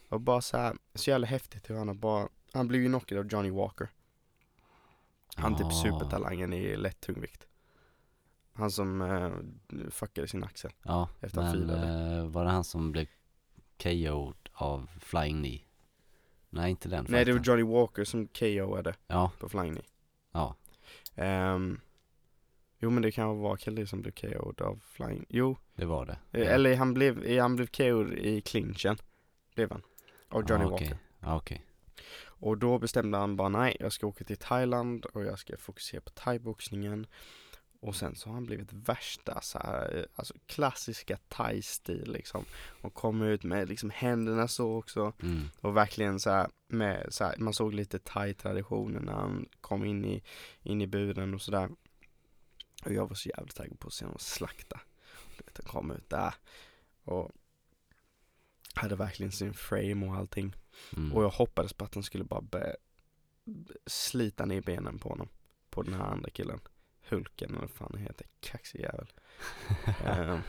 Och bara så här, så jävla häftigt hur han har bara, han blev ju knockad av Johnny Walker. Han typ Ah. supertalangen i lätt tungvikt. Han som eh, fuckade sin axel. Ja, Efter han men filade. eh, var det han som blev KO'd av Flying Knee? Nej, inte den Nej det var fighten. Johnny Walker som KOade Ja, på flying knee. ja, Ehm, jo men det kan vara Kelly som blev KO'd av flying, jo. det var det. eh, Eller han blev, eh, han blev KO'd i clinchen. Blev han. Av Johnny ja, Ah, okej. Walker. Ja, okej. Och då bestämde han bara nej, jag ska åka till Thailand och jag ska fokusera på thaiboxningen. Och sen så har han blivit värsta så här, eh, alltså klassiska thai-stil liksom. Och kom ut med liksom händerna så också. Mm. Och verkligen så här, med, så här, man såg lite thai-traditionen när han kom in i, in i buren och sådär. Och jag var så jävligt taggad på att se honom slakta. Du vet, han kom ut där och hade verkligen sin frame och allting. Mm. Och jag hoppades på att de skulle bara börja b- slita ner benen på honom. På den här andra killen. Hulken eller vad fan han heter, kaxig jävel. Ehm,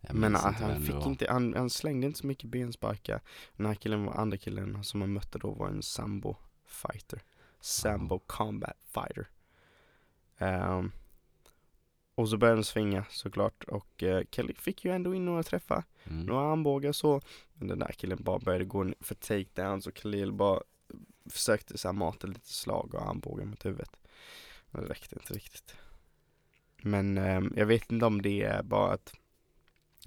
Jag men minns han, inte vem han det fick var. inte, han, han slängde inte så mycket bensparkar. Den här killen, var- andra killen som han mötte då var en sambo fighter. Sambo combat fighter. Ehm, och så började den svinga såklart och eh, Kelly fick ju ändå in några träffar. Mm. Några armbågar så. Men den där killen bara började gå in för takedowns och Khalil bara försökte så här mata lite slag och armbågar mot huvudet. Men det räckte inte riktigt. Men eh, jag vet inte om det är bara att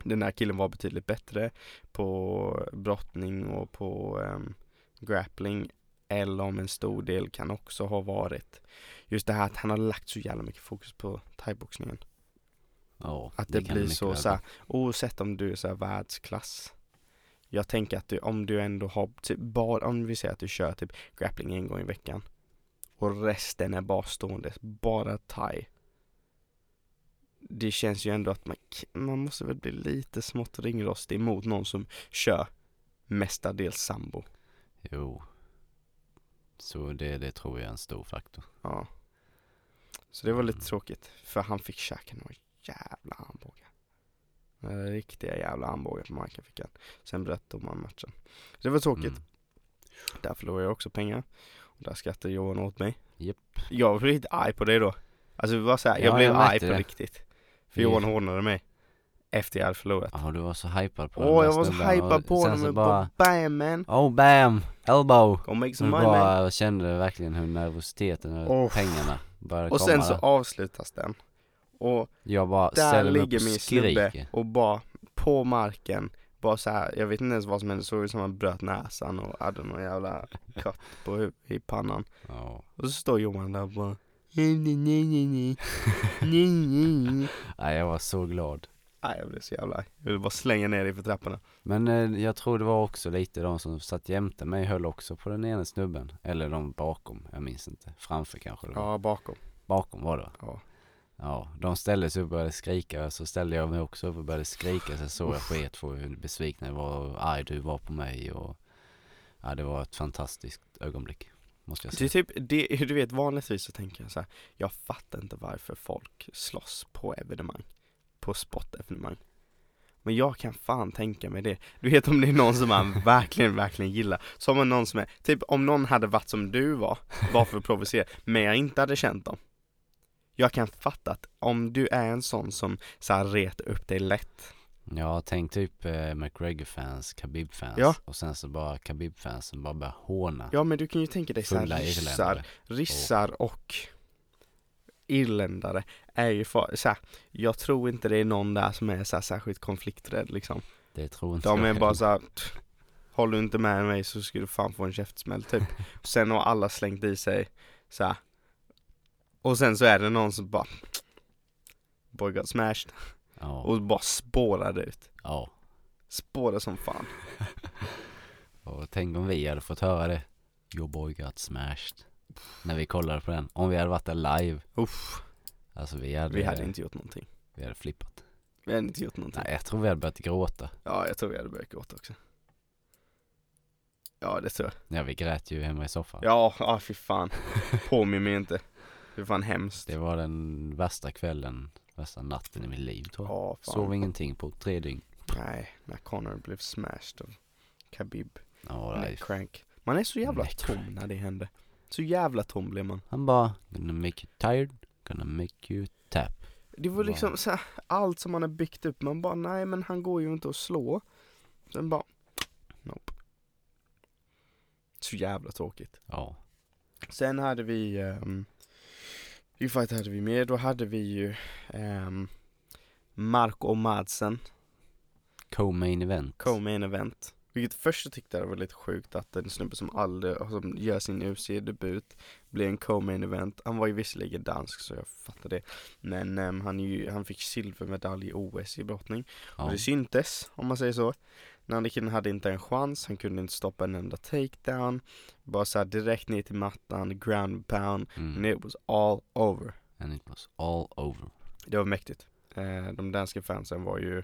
den här killen var betydligt bättre på brottning och på ehm, grappling. Eller om en stor del kan också ha varit just det här att han har lagt så jävla mycket fokus på thaiboxningen. Ja, Att det, kan blir mycket så väl såhär, oavsett om du är såhär världsklass Jag tänker att du, om du ändå har, typ, bara, om vi säger att du kör typ grappling en gång i veckan och resten är bara stående, bara thai. Det känns ju ändå att man, k- man måste väl bli lite smått ringrostig mot någon som kör mestadels sambo. Jo. Så det, det tror jag är en stor faktor. Ja. Så det var lite Mm. tråkigt, för han fick käka några jävla armbågar. Några Riktiga jävla armbågar på marken fick han. Sen bröt domaren matchen. Så det var tråkigt, Mm. där förlorade jag också pengar. Och där skrattade Johan åt mig. Japp. Jag blev lite arg på dig då. Alltså det var så här, jag Ja, blev jag märkte arg på det. riktigt. För Vi- Johan hånade mig. Efter jag hade förlorat. Ja, du var så hypad på den Åh där jag var så snubben och hypad på sen honom, så och bara bara... bam man! Oh bam! Elbow! Go make Så some money Liksom du man! bara kände verkligen hur nervositeten och Åh. pengarna började Och komma sen så där. avslutas den. Och Jag bara Där ställer mig upp ligger och min snubbe skriker. och bara på marken, bara så här, jag vet inte ens vad som hände, såg ut som han bröt näsan och hade någon jävla cut på, hu- i pannan. Ja. Och så står Johan där och bara nej, nej, nej, nej, nej, nej, nej, nej. Nej, jag var så glad. Nej jag blev så jävla arg. jag ville bara slänga ner dig för trapporna. Men eh, jag tror det var också lite de som satt jämte mig höll också på den ena snubben. Eller de bakom, jag minns inte. Framför kanske det var. Ja bakom. Bakom var det va? Ja. Ja, de ställde sig upp och började skrika. Så ställde jag mig också upp och började skrika. Sen såg jag på er två hur besvikna jag var och hur arg du var på mig. Och... Ja, det var ett fantastiskt ögonblick. Måste jag Det är säga. typ, det, du vet vanligtvis så tänker jag så här, jag fattar inte varför folk slåss på evenemang, på sportevenemang. Men jag kan fan tänka mig det. Du vet om det är någon som man verkligen, verkligen gillar. Som om någon som är, typ om någon hade varit som du var, bara för att provocera, men jag inte hade känt dem. Jag kan fatta att om du är en sån som så här retar upp dig lätt. Ja, tänk typ eh, McGregor-fans, Khabib-fans. Ja. Och sen så bara Khabib-fansen bara började håna. Ja men du kan ju tänka dig så här Fulla ryssar, irländare. Ryssar och irländare är ju far, så här, jag tror inte det är någon där som är så här, särskilt konflikträdd liksom. Det tror inte De jag är bara heller. så här, "Tch, håller du inte med mig så ska du fan få en käftsmäll typ. Sen har alla slängt i sig så här. Och sen så är det någon som bara Boy got smashed Ja. och bara spårade ut. ja. Spårade som fan. Och tänk om vi hade fått höra det. Your boy got smashed. När vi kollade på den. Om vi hade varit där live. Uff, Alltså vi hade, vi hade inte gjort någonting. vi hade flippat. Vi hade inte gjort någonting. Nej, jag tror vi hade börjat gråta. Ja, jag tror vi hade börjat gråta också. Ja, det tror jag. Ja, vi grät ju hemma i soffan. Ja, ja fy fan. Påminn mig inte. Fy fan hemskt. Det var den värsta kvällen, värsta natten i mitt liv tror jag. Ja, Ah, fan. Sov ingenting på tre dygn. Nej, när Connor blev smashed av Khabib. Ja, nej. Neckcrank. Man är så jävla Neckcrank. tom när det händer. Så jävla tom blir man. Han bara, gonna make you tired, gonna make you tap. Det var Wow. liksom så här, allt som man har byggt upp. Man bara, nej men han går ju inte att slå. Sen bara, nope. Så jävla tråkigt. Ja. Sen hade vi, um, vilken fight hade vi mer? Då hade vi ju ehm, Marko Madsen Co-main event. Co-main event. Vilket först så tyckte jag det var lite sjukt att en snubbe som aldrig, som gör sin UFC-debut blir en co-main event. Han var ju visserligen dansk så jag fattar det. Men ehm, han, är ju, han fick silvermedalj i OS i brottning. Och ja. det syntes, om man säger så. Nandikin hade inte en chans, han kunde inte stoppa en enda takedown. Bara såhär direkt ner till mattan, ground pound. And Mm. it was all over. And it was all over. Det var mäktigt. Eh, de danska fansen var ju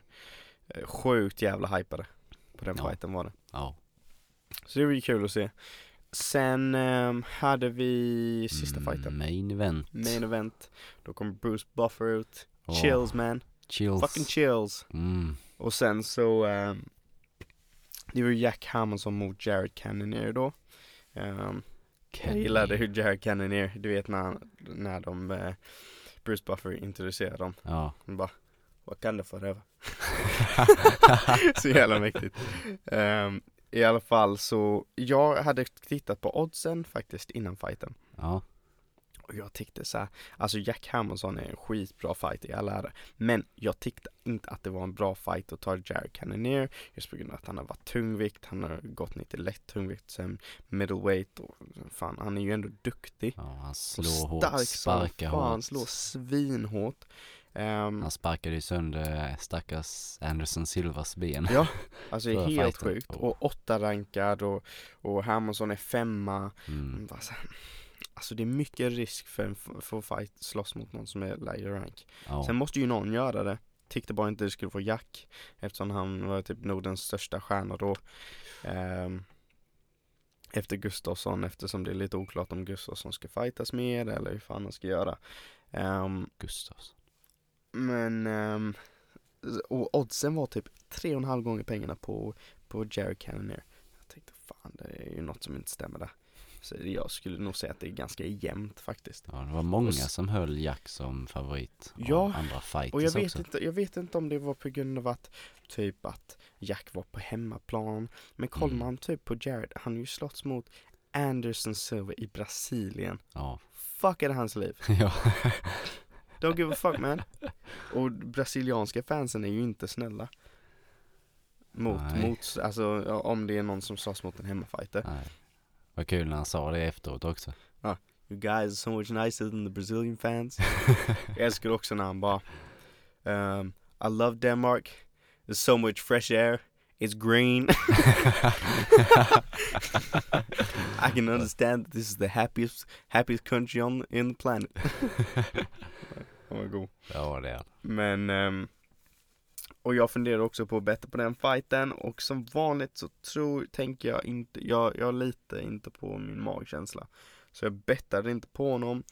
eh, sjukt jävla hypade på den Ja. fighten var det. Ja. Så det var ju kul att se. Sen ehm, hade vi sista Mm. fighten, Main event. main event. Då kom Bruce Buffer ut. Åh, Chills man, Chills. fucking chills. Mm. Och sen så, ehm, det var ju Jack Hermansson mot Jared Cannonier då. Ehm, jag Kenny. gillade hur Jared Cannonier, du vet när, han- när de, eh, Bruce Buffer introducerade dem. Ja. Han bara, Wakanda forever. så jävla mäktigt. Ehm, I alla fall så, jag hade tittat på oddsen faktiskt innan fighten. Ja. Och jag tyckte så här, alltså Jack Hermansson är en skitbra fight i alla ära. Men jag tyckte inte att det var en bra fight att ta Jared Cannonier. Just på grund av att han har varit tungvikt, han har gått ner till lätt tungvikt, sen middleweight och fan, han är ju ändå duktig. Ja, han slår Och hårt, stark som sparkar fan, hårt. slår svinhårt. Ehm, Han sparkade ju sönder eh, stackars Anderson Silvas ben. Ja, alltså det är Förra helt fighten. sjukt. Oh. Och åtta rankad och, och Hermansson är femma. Mm. Alltså, alltså det är mycket risk för en f- för fight slåss mot någon som är lägre rank. Ja. Sen måste ju någon göra det. Tyckte bara inte det skulle få Jack eftersom han var typ Nordens största stjärna då. Ehm, efter Gustafsson eftersom det är lite oklart om Gustafsson ska fightas med eller hur fan han ska göra. Ehm, Gustafsson. men ehm, och oddsen var typ tre och en halv gånger pengarna på, på Jerry Cannonier. Jag tänkte fan det är ju något som inte stämmer där. Så jag skulle nog säga att det är ganska jämnt faktiskt. Ja, det var många s- som höll Jack som favorit. av Ja, Andra fighters Och jag vet, också. inte, jag vet inte om det var på grund av att typ att Jack var på hemmaplan. Men kollar Mm. man typ på Jared, han har ju slåtts mot Anderson Silva i Brasilien. Ja. Fuckade hans liv. ja. Don't give a fuck man. Och brasilianska fansen är ju inte snälla. Mot, Nej. mot, alltså ja, om det är någon som slåss mot en hemmafighter. Nej. Vad kul när han sa det efteråt också. You guys are so much nicer than the Brazilian fans. Jag älskar också när han bara ehm, I love Denmark. There's so much fresh air. It's green. I can understand that this is the happiest, happiest country on in the planet. Han var god. Ja, det är han. Men, ehm, och jag funderar också på att betta på den fighten och som vanligt så tror, tänker jag inte, jag, jag litar inte på min magkänsla. Så jag bettade inte på honom.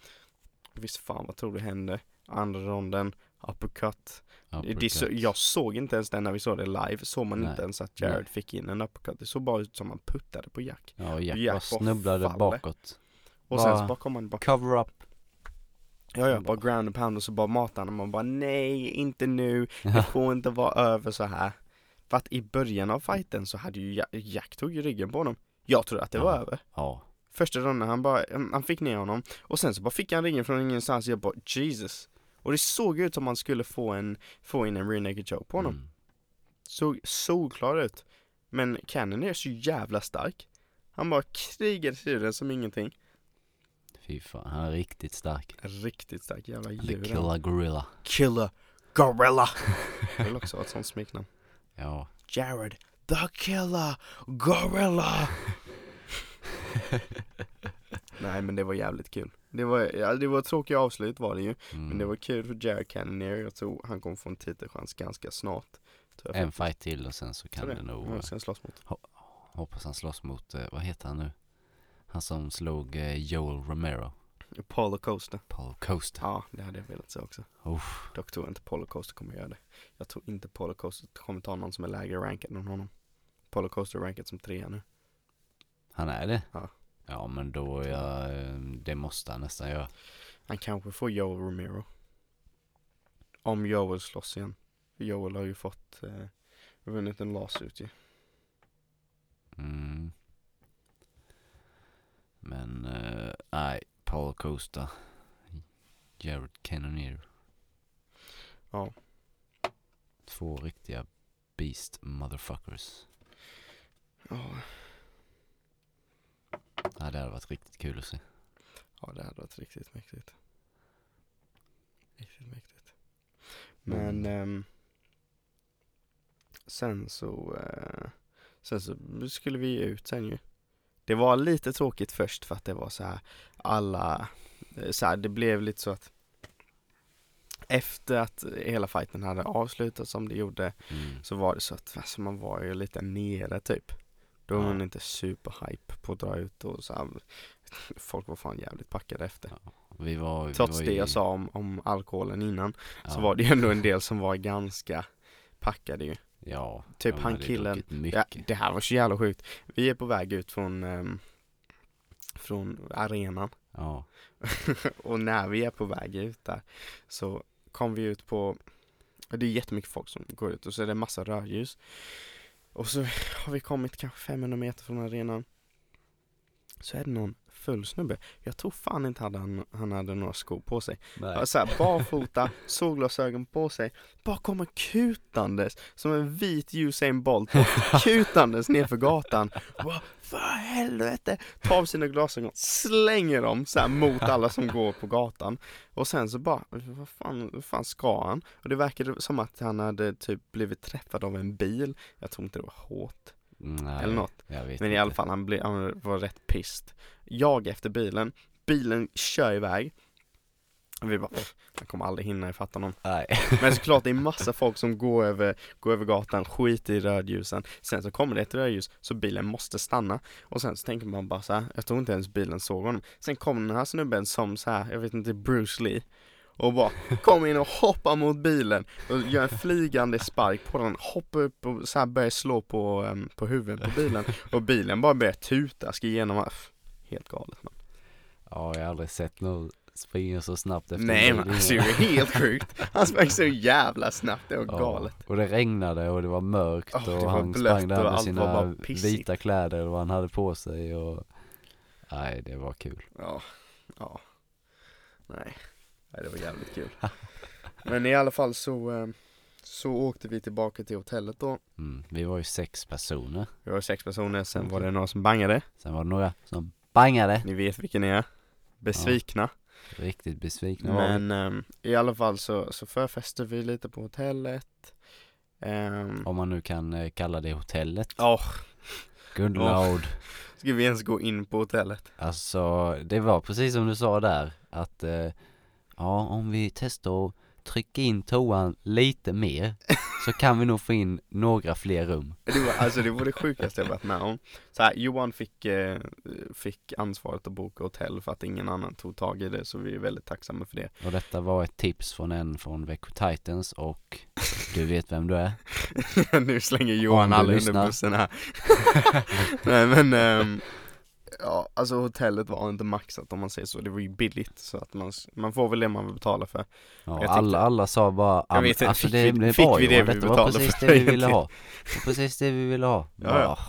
Visst fan vad tror du hände? Andra ronden, uppercut. Det, så, Uppercut. jag såg inte ens den när vi såg det live, såg man Nej. inte ens att Jared Nej. fick in en uppercut. Det såg bara ut som han puttade på Jack. Ja, Jack, Jack bara bara snubblade faller. bakåt. Och sen så Bara- bara kom han bara, Cover up. ja ja, han bara bara- ground and pound och så bara matade han och man bara nej, inte nu. Det får inte vara över så här. För att i början av fighten så hade ju Jack, Jack tog ju ryggen på honom. Jag trodde att det var Ja. över. Ja. Första ronden han bara, mm, han fick ner honom och sen så bara fick han ryggen från ingenstans och jag bara Jesus. Och det såg ut som han skulle få en, få in en rear naked choke på honom. Mm. Såg solklar ut. Men Cannon är så jävla stark. Han bara krigade sig ur den som ingenting. Fy fan, han är riktigt stark. Riktigt stark jävla The djur. alltså. han. Killer Gorilla. Killer Gorilla. Det vill också ha ett sånt smeknamn. Ja. Jared the Killer Gorilla. Nej men det var jävligt kul. Det var, ja, det var ett tråkigt avslut var det ju. Mm. Men det var kul för Jared Cannonier. Jag tror han kommer få en titelchans ganska snart. Tror jag. En fight till och sen så kan Tror det, det. nog, Ja, sen slåss mot. hoppas han slåss mot, eh, vad heter han nu? Han som slog eh, Joel Romero. Apollo Coaster. Paul Coaster. Ja, det hade jag velat se också. Uff. Dock tror jag inte Polo Coaster kommer göra det. Jag tror inte Polo Coaster kommer ta någon som är lägre rankad än honom. Polo Coaster är rankad som trea nu. Han är det? Ja. Ja men då, är jag, eh, det måste han nästan göra. Han kanske får Joel Romero. Om Joel slåss igen. Joel har ju fått, eh, vunnit en lawsuit ju. Mm. Men, eh, nej, Paul Coaster. Jared Cannonier. Ja. Två riktiga beast motherfuckers. Ja, Ja, det hade varit riktigt kul att se. ja det hade varit riktigt mäktigt. Riktigt mäktigt. Mm. Men, ehm, sen så, eh, sen så skulle vi ge ut sen ju. Det var lite tråkigt först för att det var så här alla, eh, så här, det blev lite så att efter att hela fighten hade avslutats som det gjorde Mm. så var det så att alltså, man var ju lite nere typ. Då var Ja. man inte superhype på att dra ut och så här, folk var fan jävligt packade efter. Vi var, vi Trots var det ju- jag sa om, om alkoholen innan så ja, var det ju ändå en del som var ganska packade ju. Ja. typ de han hade ju killen- druckit Ja, Mycket. det här var så jävla sjukt. Vi är på väg ut från, ehm, från arenan Ja. och när vi är på väg ut där så kom vi ut på, det är jättemycket folk som går ut och så är det en massa rödljus. Och så har vi kommit kanske 500 meter från arenan. Så är det någon full snubbe. Jag tror fan inte hade han, han hade några skor på sig. Nej. Ja, Så här, barfota, solglasögon på sig, bara kommer kutandes som en vit Usain Bolt, kutandes nerför gatan. Och Bara, för helvete! Tar av sina glasögon, slänger dem så här mot alla som går på gatan. Och sen så bara, vad fan, vad fan ska han? Och det verkade som att han hade typ blivit träffad av en bil. Jag tror inte det var hårt, Nej, eller något. Jag vet Men i inte. alla fall, han, blev, han var rätt pist. Jag efter bilen, bilen kör iväg. Och vi bara, "Pff, han kommer aldrig hinna ifatt honom. Nej. Men såklart, det är massa folk som går över, går över gatan, skiter i rödljusen. Sen så kommer det ett rödljus, så bilen måste stanna. Och sen så tänker man bara så här, jag tror inte ens bilen såg honom. Sen kommer den här snubben som så här, jag vet inte, Bruce Lee. Och bara kom in och hoppa mot bilen och gör en flygande spark på den, hoppar upp och så här börjar slå på, em, på huvudet på bilen. Och bilen bara börjar tuta, ska igenom, Pff, helt galet man. Ja, jag har aldrig sett någon springa så snabbt efter en Nej bil men innan. alltså det är ju helt sjukt. Han sprang så jävla snabbt, det var Ja, galet. Och det regnade och det var mörkt Åh, det och var han blött sprang där och med allt var sina bara pissigt. vita kläder och vad han hade på sig och Nej det var kul Ja, ja. Nej. Nej, det var jävligt kul. Men i alla fall så, eh, så åkte vi tillbaka till hotellet då. mm. Vi var ju sex personer Vi var sex personer, sen var det några som bangade. Sen var det några som bangade Ni vet vilka ni är. Besvikna. Riktigt besvikna var vi Men ehm, i alla fall så, så förfestade vi lite på hotellet. Ehm, Om man nu kan eh, kalla det hotellet Ja, Good Ja. lord ska vi ens gå in på hotellet? Alltså det var precis som du sa där att eh, Ja om vi testar att trycka in toan lite mer Så kan vi nog få in några fler rum Det var, alltså det var det sjukaste jag varit med om. Så här, Johan fick, eh, fick ansvaret att boka hotell för att ingen annan tog tag i det, så vi är väldigt tacksamma för det. Och detta var ett tips från en från Växjö Titans och du vet vem du är. nu slänger Johan Om du alla under lyssnar. bussen här Nej men ehm, Ja alltså hotellet var inte maxat om man säger så, det var ju billigt så att man, man får väl det man vill betala för Ja, tänkte- alla, alla sa bara, Jag "Ah, vet inte, alltså fick det, vi- det är fick bra vi det Johan, vi detta var betalade precis för det vi ville egentligen?" ha. Det var precis det vi ville ha. Ja, ja. Ah.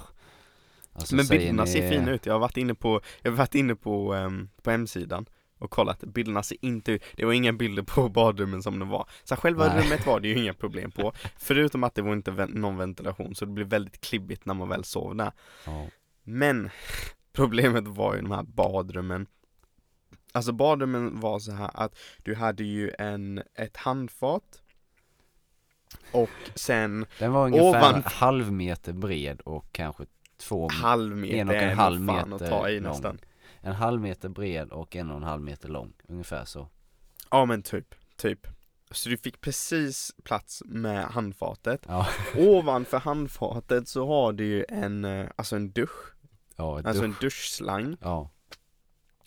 Alltså, Men säger bilderna ni- ser fina ut, jag har varit inne på, jag har varit inne på, ehm, på hemsidan och kollat, bilderna ser inte ut, det var inga bilder på badrummen som det var Så själva Nej. rummet var det ju inga problem på Förutom att det var inte ven- någon ventilation så det blev väldigt klibbigt när man väl sov där Ja, Men problemet var ju de här badrummen. Alltså badrummen var så här att du hade ju en, ett handfat och sen Den var ungefär Ovan- en halv meter bred och kanske två, halv meter, en och det är en halv nog fan att ta i meter lång. nästan. en halv meter bred och en och en halv meter lång. Ungefär så. Ja men typ, typ. Så du fick precis plats med handfatet. Ja, Ovanför handfatet så har du ju en, eh, alltså en dusch, ja, ett alltså dusch. en duschslang. ja.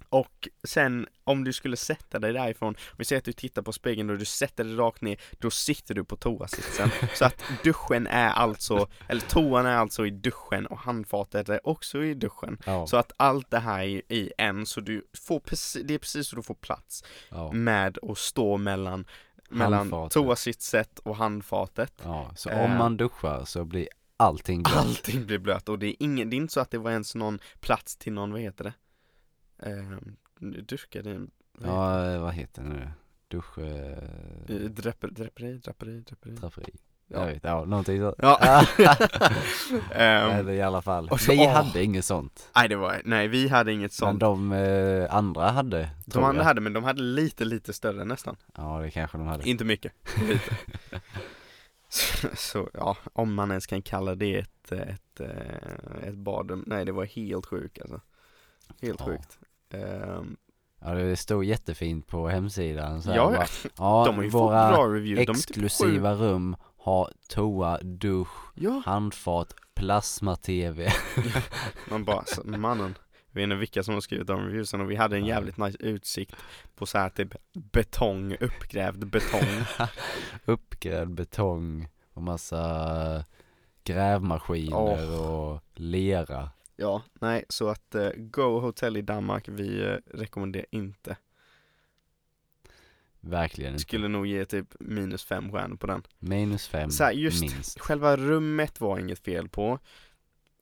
Och sen om du skulle sätta dig därifrån, om vi säger att du tittar på spegeln och du sätter dig rakt ner, då sitter du på toasitsen. Så att duschen är alltså, eller toan är alltså i duschen och handfatet är också i duschen. ja, Så att allt det här är i en, så du får precis, det är precis så du får plats ja. med att stå mellan, mellan Handfatet. toasitset och handfatet. ja. Så Eh. om man duschar så blir allting blött. Allting blir blött och det är, ingen, det är inte så att det var ens någon plats till någon, vad heter det? Eh, duschgardin, vad heter Ja, eh, vad heter det nu? Dusch... Eh, Eh, Draper, draperi, draperi, draperi. draperi. Ja. Jag vet, ja, någonting sånt. Ja. Eller Ehm, i alla fall. och så- vi åh. hade inget sånt. nej det var, nej vi hade inget Men sånt. de eh, andra hade, De tror andra jag. hade, men de hade lite, lite större nästan. Ja, det kanske de hade. Inte mycket, lite. Så, så, ja, om man ens kan kalla det ett, eh, ett, eh, ett badrum. Nej det var helt sjukt alltså. Helt Ja. sjukt. Ehm, Ja, det stod jättefint på hemsidan. Så här, ja, bara, ja, de har ju fått våra bra reviews. De är typ sju. exklusiva rum har toa, dusch, Ja, handfat, plasma-tv. Man bara, så, mannen, vi vet inte vilka som har skrivit de reviewsen och vi hade en Nej. jävligt nice utsikt på så här typ betong, uppgrävd betong. Uppgrävd betong och massa grävmaskiner och lera. ja, nej, så att eh, Go Hotel i Danmark, vi eh, rekommenderar inte. Verkligen inte. Skulle nog ge typ minus fem stjärnor på den. Minus fem, Så här, just- minst. Själva rummet var inget fel på.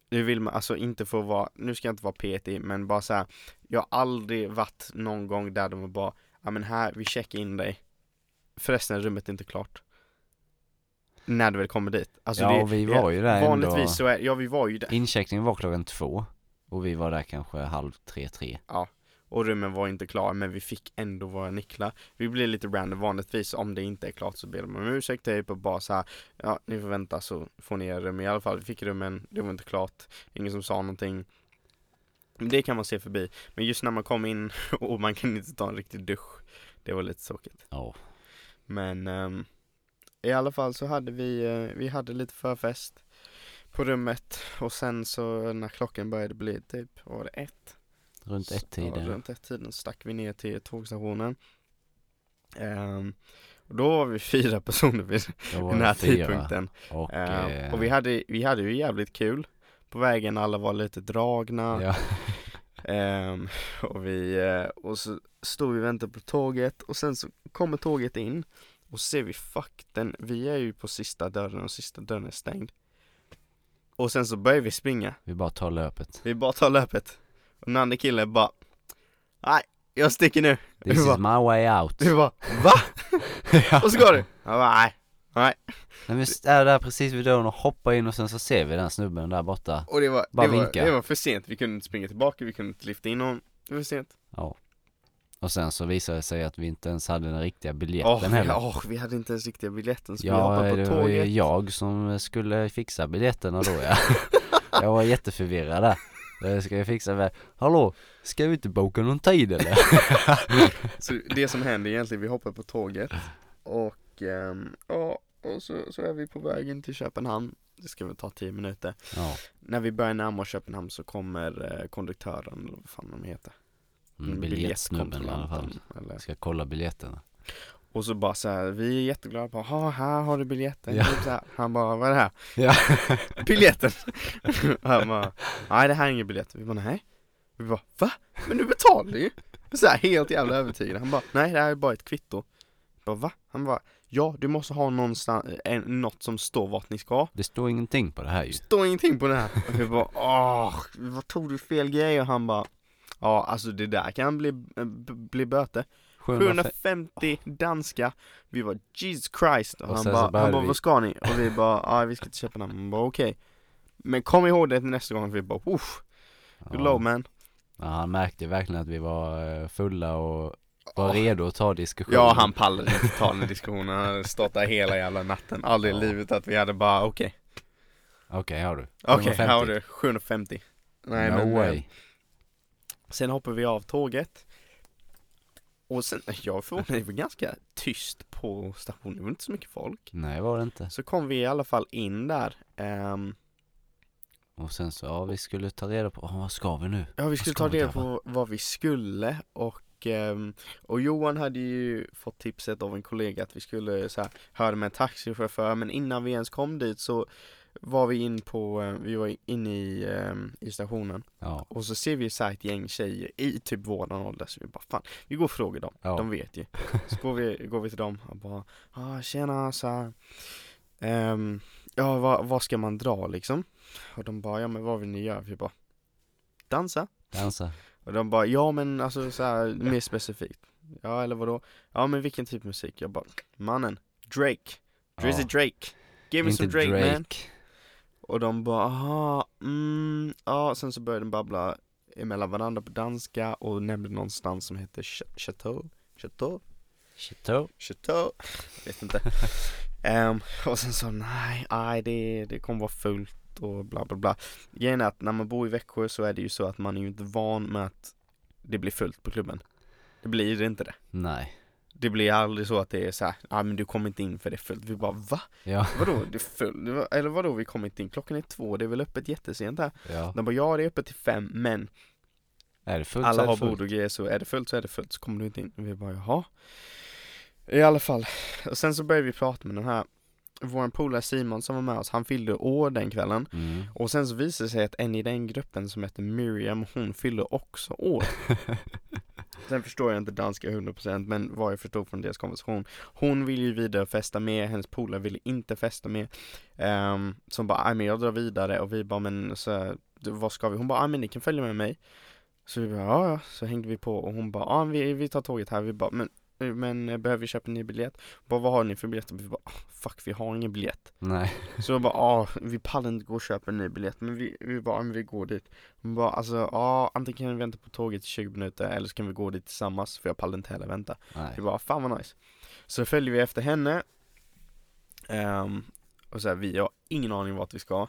nu vill man alltså inte få vara, nu ska jag inte vara petig men bara så här, jag har aldrig varit någon gång där de bara, ja men här, vi checkar in dig. Förresten, rummet är inte klart. När du väl kommer dit. Alltså, ja, det, vi var ju där Vanligtvis ändå. så är, ja vi var ju där Incheckningen var klockan två och vi var där kanske halv tre, tre. och rummen var inte klara men vi fick ändå våra nycklar. Vi blir lite random vanligtvis om det inte är klart så ber de om ursäkt typ och bara så här, ja ni får vänta så får ni era rum i alla fall. Vi fick rummen, det var inte klart, ingen som sa någonting. Men Det kan man se förbi, men just när man kom in och man kan inte ta en riktig dusch, det var lite tråkigt. Ja, Men ehm, i alla fall så hade vi, eh, vi hade lite förfest på rummet och sen så när klockan började bli typ, vad var det ett? runt ett Ja, tiden. runt ett tiden stack vi ner till tågstationen. Ehm, och då var vi fyra personer vid Då var den här det fyra. tidpunkten. Och, Ehm, eh, och vi hade, vi hade ju jävligt kul på vägen, alla var lite dragna. ja. Ehm, och, vi, eh, och så stod vi och väntade på tåget och sen så kommer tåget in och ser vi fakten, vi är ju på sista dörren och sista dörren är stängd. Och sen så börjar vi springa, Vi bara tar löpet. vi bara tar löpet. Och den andra killen bara, nej jag sticker nu. This Vi bara- is my way out. Vi bara, va? Ja. Och så går du. Jag bara, nej. När vi är där precis vid dörren och hoppar in och sen så ser vi den snubben där borta. Och det var, Bara det, var, vinka. det var för sent, vi kunde inte springa tillbaka, vi kunde inte lyfta in honom. Det var för sent. Ja. Och sen så visade det sig att vi inte ens hade den riktiga biljetten Åh, vi, heller. åh, vi hade inte ens riktiga biljetten så vi Ja, hoppade det på var ju tåget. jag som skulle fixa biljetterna då ja. jag var jätteförvirrad där. Eh, Ska jag fixa med, hallå, ska vi inte boka någon tid eller? Så det som händer egentligen, vi hoppar på tåget och ehm, ja, och så, så är vi på vägen till Köpenhamn. Det ska väl ta 10 minuter. ja. När vi börjar närma oss Köpenhamn så kommer eh, konduktören, eller vad fan de heter. Mm, biljettsnubben i alla fall. biljettkontrollanten, Eller. Ska kolla biljetterna. Och så bara så här, vi är jätteglada, bara, "Ha, här har du biljetten. Ja. Typ så här. Han bara, vad är det här? Ja. biljetten! Och han bara, nej det här är ingen biljett. Vi bara, nej. Vi bara, va? Men du betalar ju! Så här, helt jävla övertygad. Han bara, nej det här är bara ett kvitto. Jag bara, va? Han bara, ja du måste ha någonstans, eh, en, något som står vart ni ska. Det står ingenting på det här ju. Det står ingenting på den här. Och vi bara, åh, vad tog du fel grej? Och han bara, ja alltså det där kan bli, eh, bli böter. 750. 750 danska Vi var Jesus Christ Och och han sen så bara, började han bara vi- vad ska ni? Och vi bara, ja vi ska till Köpenhamn, han bara okej Men kom ihåg det till nästa gång, vi bara uff, good low Ja. man Ja, han märkte verkligen att vi var eh, fulla och var redo att ta diskussionen. Ja han pallade inte ta den diskussionen, han hade stått där hela jävla natten Aldrig i Ja. livet att vi hade bara okej, Okej, har du. okej här har du 750 Nej no men eh, way. Sen hoppar vi av tåget Och sen, jag förvånade det var ganska tyst på stationen, det var inte så mycket folk Nej, var det inte. Så kom vi i alla fall in där ehm, Och sen så, ja vi skulle ta reda på, oh, vad ska vi nu? Ja vi skulle ta ska vi reda göra? på vad vi skulle och, ehm, och Johan hade ju fått tipset av en kollega att vi skulle så här, höra med en taxichaufför men innan vi ens kom dit så var vi in på, eh, vi var inne i, ehm, i stationen Ja, och så ser vi så här ett gäng tjejer i typ våran ålder så vi bara fan, vi går och frågar dem, Ja. de vet ju. Så går vi, går vi till dem och bara, ah, tjena så här. Ehm, ja vad, vad ska man dra liksom? Och de bara, ja men vad vill ni göra? Vi bara, dansa. dansa. Och de bara, ja men alltså så här, mer specifikt Ja eller vadå? Ja men vilken typ av musik? Jag bara, mannen, Drake, Drizzy Ja. Drake Give me Inte some Drake, Drake, man Och de bara, aha, mm, ja sen så började de babbla emellan varandra på danska och nämnde någonstans som hette Ch- Chateau, Chateau, Chateau. Chateau, jag vet inte Ehm, Och sen så, nej, nej det, det kommer vara fullt och bla bla bla Grejen är att när man bor i Växjö så är det ju så att man är ju inte van med att det blir fullt på klubben Det blir inte det Nej. Det blir aldrig så att det är så här, ja men du kommer inte in för det är fullt Vi bara va? Ja, Vadå det är fullt? Det var- Eller vadå vi kommer inte in? Klockan är två, det är väl öppet jättesent här? ja. De bara ja det är öppet till fem men Är det fullt så alla är det har fullt. bord och grejer så är det fullt så är det fullt så kommer du inte in. Vi bara jaha. I alla fall. Och sen så började vi prata med den här, vår polare Simon som var med oss, han fyllde år den kvällen. Mm. Och sen så visade det sig att en i den gruppen som hette Miriam, hon fyllde också år. Sen förstår jag inte danska 100% men vad jag förstod från deras konversation Hon ville ju vidare festa med, hennes polare ville inte festa med um, Som bara, "Aj, men jag drar vidare och vi bara, men så, här, du, vad ska vi? Hon bara, "Aj, men ni kan följa med mig Så vi bara, ja ja, så hängde vi på och hon bara, ja vi, vi tar tåget här, vi bara, men men eh, behöver vi köpa en ny biljett? Bara vad har ni för biljetter? Vi bara, "Ah, fuck vi har ingen biljett Nej. så jag bara, ah, vi pallar inte gå och köpa en ny biljett, men vi, vi bara, men vi går dit. Hon bara, alltså, ja, ah, antingen kan vi vänta på tåget i 20 minuter, eller så kan vi gå dit tillsammans, för jag pallar inte heller vänta. Nej. Vi bara, fan vad nice. Så följer vi efter henne, Ehm, och så här, vi har ingen aning vart vi ska.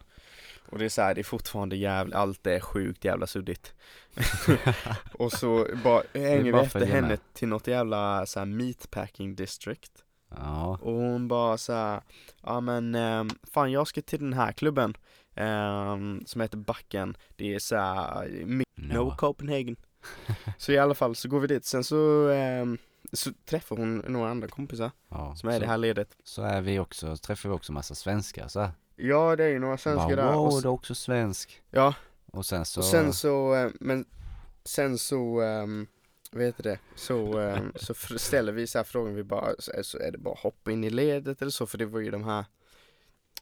Och det är så här, det är fortfarande jävligt, allt är sjukt jävla suddigt. och så bara hänger vi bara efter följer henne med. till något jävla så här meatpacking district. Ja. Och hon bara så här, ja men ehm, fan jag ska till den här klubben ehm, som heter Backen, det är så här, Mi- No Ja. Copenhagen. så i alla fall så går vi dit, sen så, ehm, så träffar hon några andra kompisar ja. som är i det Så, här ledet. så är vi också, träffar vi också massa svenskar så här. Ja det är ju några svenskar Bara, där. wow, Och, s- du är också svensk. ja, Och sen så, och sen så, eh, men sen så, um, vad heter det, så, ehm, så fr- ställer vi så här frågan, vi bara, så är- så är det bara hoppa in i ledet eller så? För det var ju de här,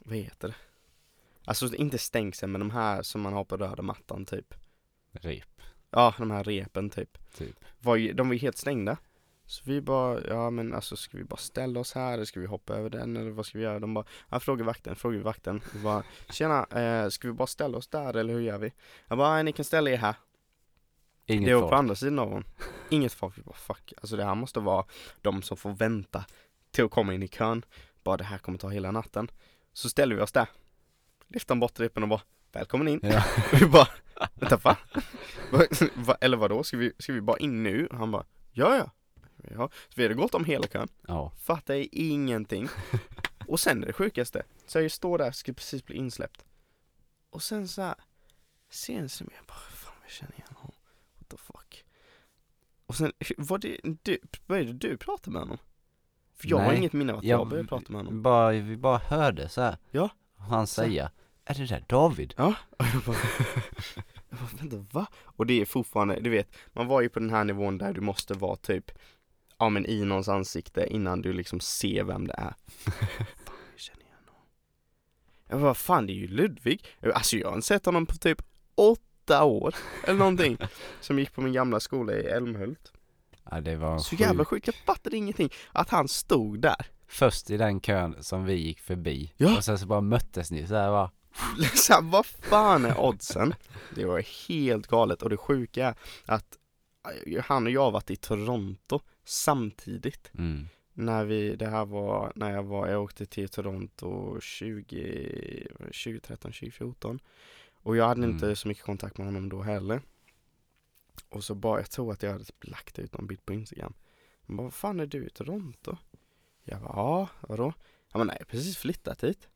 vad heter det? Alltså inte stängsel men de här som man har på röda mattan typ. rep, Ja, de här repen typ. typ. Var ju, de var ju helt stängda. Så vi bara, ja men alltså ska vi bara ställa oss här eller ska vi hoppa över den eller vad ska vi göra? De bara, ja fråga vakten, fråga vakten. Vi bara, tjena, eh, ska vi bara ställa oss där eller hur gör vi? Jag bara, nej ni kan ställa er här. Inget det var folk. på andra sidan av hon. Inget folk. Vi bara fuck, alltså det här måste vara de som får vänta till att komma in i kön. Bara det här kommer ta hela natten. Så ställer vi oss där. Lyfter bort repen och bara välkommen in. Ja. vi bara vänta va? Va- va? Eller vadå, ska vi, ska vi bara in nu? Han bara ja ja. ja. Så vi hade gått om hela kön, Ja. fattar jag ingenting. Och sen är det sjukaste, så jag står där, ska precis bli insläppt. Och sen så här, ser en som jag bara, fan jag känner igen honom. What the fuck. Och sen, var det du, började du prata med honom? För jag har Nej, inget minne av att jag, jag- började prata med honom. Bara, vi bara hörde så här. Ja. Han Så här. säga, är det där David? Och jag bara, jag bara, vänta va? Och det är fortfarande, du vet, man var ju på den här nivån där du måste vara typ, ja men i någons ansikte innan du liksom ser vem det är. fan, jag känner igen honom. Jag bara, fan det är ju Ludvig. Alltså jag har inte sett honom på typ åtta år, eller någonting. Som gick på min gamla skola i Älmhult. Ja det var Så sjukt. jävla sjukt, jag fattade ingenting. Att han stod där. Först i den kön som vi gick förbi. Ja. Och sen så bara möttes ni så här va. Så här, vad fan är oddsen? Det var helt galet och det sjuka är att eh, han och jag har varit i Toronto samtidigt Mm. när vi, det här var, när jag var, jag åkte till Toronto 20, 2013, 2014 och jag hade Mm. inte så mycket kontakt med honom då heller och så bara, jag tror att jag hade typ lagt ut någon bild på Instagram han bara, vad fan är du i Toronto? Jag bara, ja, vadå? Han bara, nej, jag har precis flyttat hit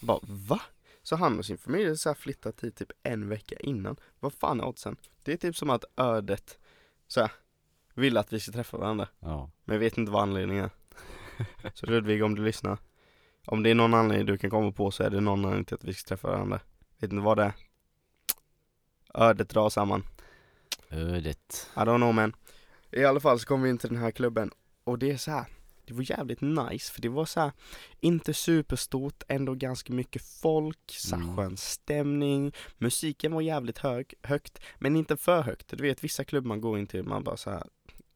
jag bara, va? Så han och sin familj hade så här flyttat hit typ en vecka innan vad fan är oddsen? Det är typ som att ödet så här, vill att vi ska träffa varandra Ja. men jag vet inte vad anledningen är. Så Ludvig, om du lyssnar. Om det är någon anledning du kan komma på så är det någon anledning till att vi ska träffa varandra. Vet inte vad det är? Ödet drar samman. Ödet. I don't know man. I alla fall så kom vi in till den här klubben och det är så här. Det var jävligt nice för det var så här, inte superstort, ändå ganska mycket folk, så här Mm. skön stämning, musiken var jävligt hög, högt, men inte för högt. Du vet vissa klubbar man går in till, man bara så här,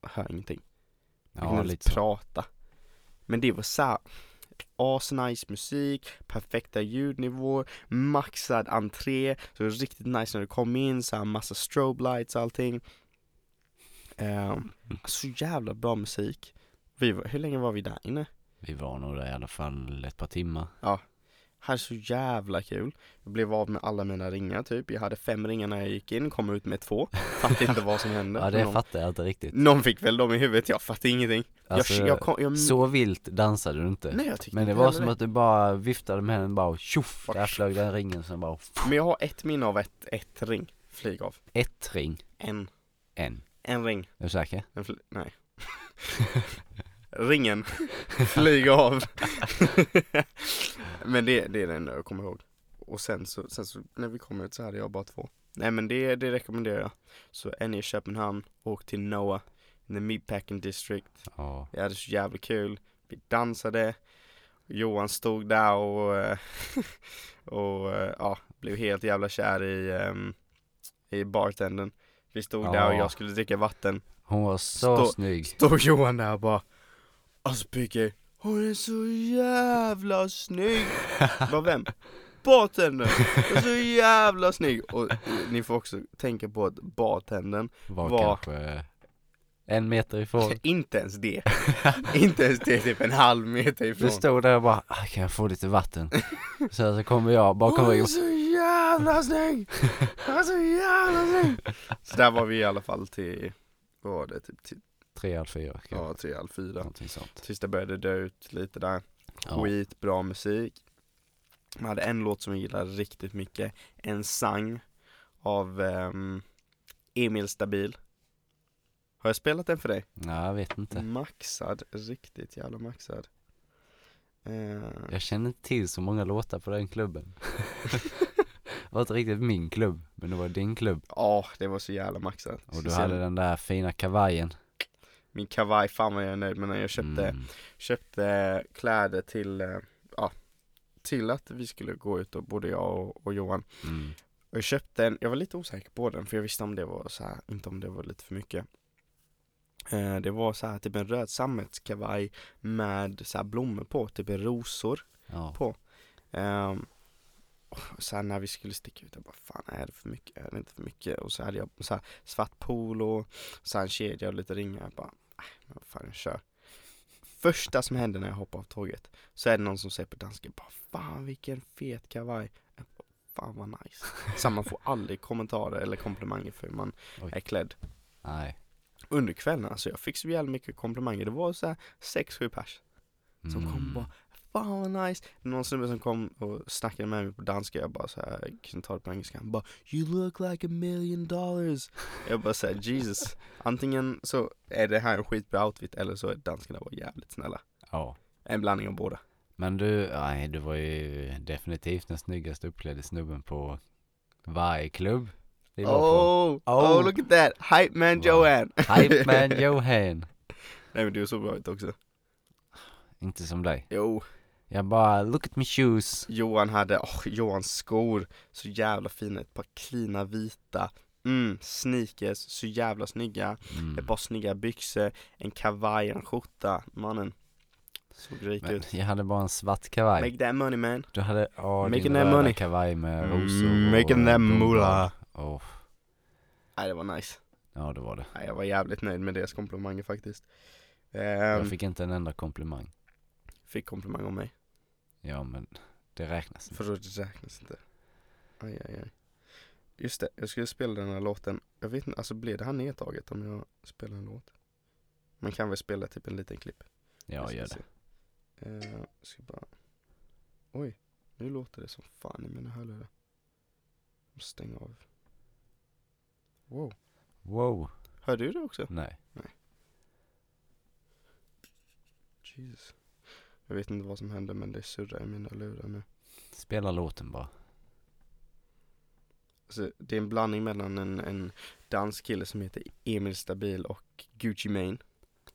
hör ingenting. Vi Ja liksom. kunde lite inte så. prata. Men det var såhär, asnice musik, perfekta ljudnivåer, maxad entré, så det var riktigt nice när du kom in, så här massa strobe lights och allting. Mm. Um, så jävla bra musik. Vi var, hur länge var vi där inne? Vi var nog där i alla fall ett par timmar. Här så jävla kul. Jag blev av med alla mina ringar typ. Jag hade fem ringar när jag gick in, kom ut med två. Fattade inte vad som hände. Ja det någon, fattar jag inte riktigt. någon fick väl dem i huvudet, jag fattade ingenting. Alltså, jag, jag, kom, jag, så vilt dansade du inte. nej, jag tyckte Men det inte var heller som att du bara viftade med den bara och tjoff, Bara där flög den ringen som bara Men jag har ett minne av ett, ett ring flyg av. ett ring, En. en. En ring. Är du säker? En fly- nej. Ringen. flyg av. men det, det är det enda jag kommer ihåg. Och sen så, sen så när vi kom ut så hade jag bara två. Nej men det, det rekommenderar jag. Så är ni i Köpenhamn, åk till Noah. The Meatpacking District. Ja. Vi hade så jävla kul. Vi dansade. Johan stod där och, eh, och eh, ja, blev helt jävla kär i, ehm, i bartendern. Vi stod där och Ja. jag skulle dricka vatten. Hon var så Stå- snygg. Stod Johan där och bara Alltså Pigge, hon är så jävla snygg! Bara vem? Bartendern! Hon är så jävla snygg! Och eh, ni får också tänka på att bartendern Var, var- kanske en meter ifrån. Inte ens det. inte ens det, typ en halv meter ifrån. Du stod där och bara, "Ah, kan jag få lite vatten? Sen så kommer jag bakom Hon är ryggen. så jävla snygg! Hon är så jävla snygg! Så där var vi i alla fall till, vad var det, typ till, Tre, halv fyra kanske. ja, tre, halv fyra. Någonting sånt. Tills det började dö ut lite där. Ja. Skitbra musik. Man hade en låt som jag gillade riktigt mycket. En sang av ehm, Emil Stabil. Har jag spelat den för dig? Nej, jag vet inte. Maxad, riktigt jävla maxad. Eh, Jag känner inte till så många låtar på den klubben. det var inte riktigt min klubb, men det var din klubb. Ja, det var så jävla maxat. Och du Speciellt hade den där fina kavajen. Min kavaj, fan vad jag är nöjd med den. Jag köpte, Mm. köpte kläder till, eh, ja, till att vi skulle gå ut och både jag och, och Johan. Mm. Och jag köpte en, jag var lite osäker på den för jag visste om det var så här, inte om det var lite för mycket. Eh, det var så här typ en röd sammetskavaj med så här blommor på, typ rosor. Ja. Um, så här när vi skulle sticka ut, jag bara fan är det för mycket, är det inte för mycket? Och så hade jag så här, svart polo, så här en kedja och lite ringar, jag bara nej men vad fan jag kör. Första som händer när jag hoppar av tåget, så är det någon som säger på danska, bara fan vilken fet kavaj. Jag bara, Fan vad nice. Så här, man får aldrig kommentarer eller komplimanger för hur man Oj. är klädd. Nej. Under kvällen, alltså jag fick så jävla mycket komplimanger. Det var så här 6-7 pers som Mm. kom och bara Fan vad nice! Någon snubbe som kom och snackade med mig på danska, jag bara såhär, jag kunde inte ta det på engelska, han bara You look like a million dollars! Jag bara såhär, Jesus Antingen så är det här en skitbra outfit eller så är danskarna bara jävligt snälla Ja. En blandning av båda Men du, nej, du var ju definitivt den snyggast uppklädde snubben på varje klubb vi var på. Oh, oh, Oh. look at that! Hype man Wow. Joanne! Hype man Johan. Nej men du såg bra ut också Inte som dig. Jo, Jag bara, look at my shoes. Johan hade, åh Johans skor, så jävla fina, ett par klina vita Mm, sneakers, så jävla snygga Mm. Ett par snygga byxor, en kavaj, en skjorta. Mannen. Såg rik Men ut. jag hade bara en svart kavaj. Make that money man. Du hade, åh, Making din that röda money. kavaj med Mm, rosor making och that blommor. moolah. Åh, Nej det var nice. ja det var det. Nej, jag var jävligt nöjd med deras komplimanger faktiskt. Ehm, Jag fick... fick inte en enda komplimang. komplimang om mig. Ja men, det räknas inte. För det räknas inte. Aj, aj, aj. Just det, jag skulle spela den här låten. Jag vet inte, alltså blir det här nedtaget om jag spelar en låt? Man kan väl spela typ en liten klipp? Ja, ska gör det. se. Eh, ska bara... Oj, nu låter det som fan i mina hörlurar. Måste stänga av. Wow. Wow, Hör du det också? nej. Jesus. Jag vet inte vad som händer men det surrar i mina lurar nu. Spela låten bara. Alltså, det är en blandning mellan en, en dansk kille som heter Emil Stabil och Gucci Mane.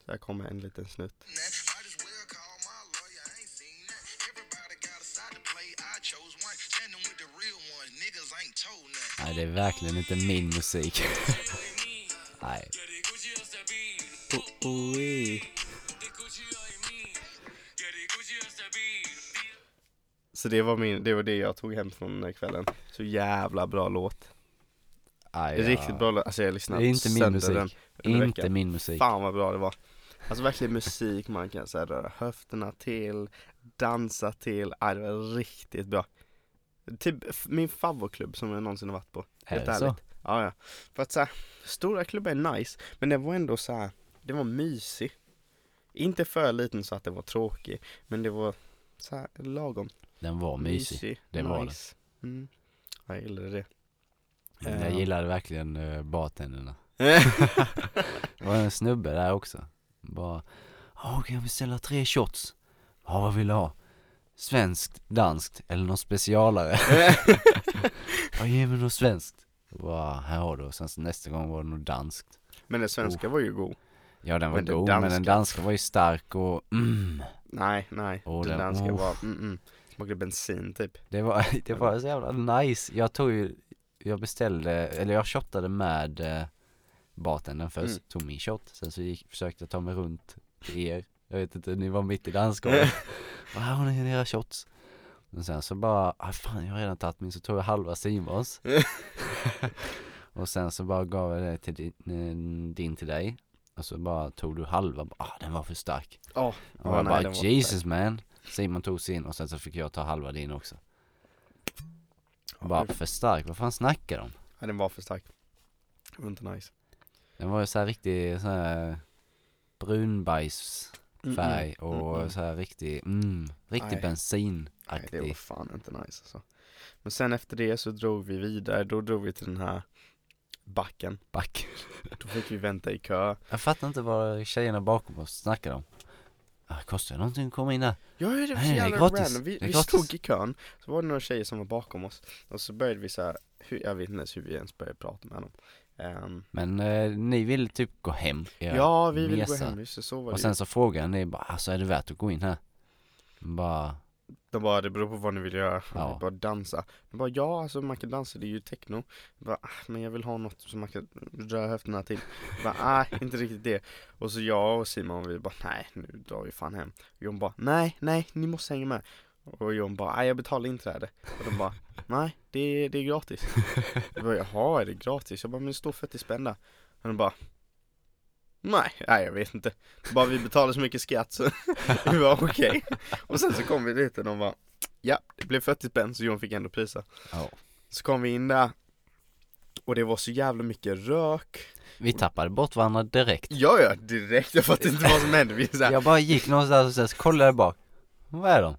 Så här kommer en liten snutt. I just well call my lawyer, I ain't seen nothing. Everybody got a side to play, I chose one. Standing with the real ones, niggas ain't told nothing. Nej det är verkligen inte min musik. nej. Så det var, min, det var det jag tog hem från den här kvällen. Så jävla bra låt. nej ja. Riktigt bra låt. Alltså jag lyssnade Det är inte min sönder musik. den under Inte veckan. min musik. Fan vad bra det var. Alltså verkligen musik man kan så här, röra höfterna till, dansa till. Ja, det var riktigt bra. Typ f- min favoritklubb som jag någonsin har varit på. Är Helt det så? ärligt. Ja, ja. För att så här, stora klubbar är nice, men det var ändå så här, det var mysig. Inte för liten så att det var tråkig, men det var så här lagom. Den var mysig. Det var nice. Mm. Jag gillade det. Men Jag Eh. gillade verkligen uh, bartenderna. Det var en snubbe där också. Bara, ja kan jag beställa tre shots? Ja vad vill du ha? Svenskt, danskt eller något specialare? Ja ge mig något svenskt. Jag Bara, här har du. Och sen så nästa gång var det nog danskt. Oh. men den svenska var ju god. Ja den var Men den god men den danska. danska var ju stark och mm. Nej, nej. Åh, den den- oh. danska uff. var, mm, mm. Smakade bensin typ. Det var, det var så jävla nice. Jag tog ju, jag beställde, eller jag shottade med eh, bartendern först, Mm. tog min shot, sen så gick, försökte jag ta mig runt till er. Jag vet inte, ni var mitt i dansgolvet. Vad har ni era shots? Men sen så bara, ah, fan jag har redan tagit min, så tog jag halva Simons. och sen så bara gav jag det till din, eh, din till dig. Och så bara tog du halva, Bara, ah den var för stark. Åh, Och ja, jag nej, bara den var- Jesus man Simon tog sin och sen så fick jag ta halva din också Bara för stark, vad fan snackar de? Nej, den var för stark. Det var inte nice. Den var ju så här riktig så här brunbajs färg och mm, mm. så här riktig, mm, riktig Nej. Nej, det var bensinaktig fan inte nice alltså. Men sen efter det så drog vi vidare, då drog vi till den här backen. back Då fick vi vänta i kö. Jag fattar inte vad tjejerna bakom oss snackar om ah, Kostar det någonting att komma in där? Ja, ja, det var Nej, så det är jävla gratis. random. Vi, Det är vi gratis. stod i kön, så var det några tjejer som var bakom oss. Och så började vi så här, hur, jag vet inte ens hur vi ens började prata med dem. Ehm, Men eh, ni ville typ gå hem era ja, vi ville gå mesar. hem, just det, så var det Och ju. sen så frågade ni bara, alltså är det värt att gå in här? Bara De bara, det beror på vad ni vill göra. Ja. Vi Bara dansa. De bara, ja alltså man kan dansa, det är ju techno. Jag bara, ah, men jag vill ha något som man kan röra höfterna till. Jag bara, ah, inte riktigt det. Och så jag och Simon, vi bara, nej nu drar vi fan hem. John bara, nej, nej, ni måste hänga med. Och John bara, nej jag betalar inträde. Och de bara, nej, det, det är gratis. Jag bara, jaha, är det gratis? Jag bara, men det står 40 spänn där. Och de bara, nej, nej jag vet inte. Bara vi betalar så mycket skatt så vi bara, okej. Och sen så kom vi dit och de bara, Ja, det blev 40 spänn så John fick ändå prisa. ja Så kom vi in där och det var så jävla mycket rök. Vi tappade bort varandra direkt. Ja, ja, direkt. Jag fattade inte vad som hände. Vi så här. Jag bara gick någonstans och sen så kollade jag bak. Vad är de?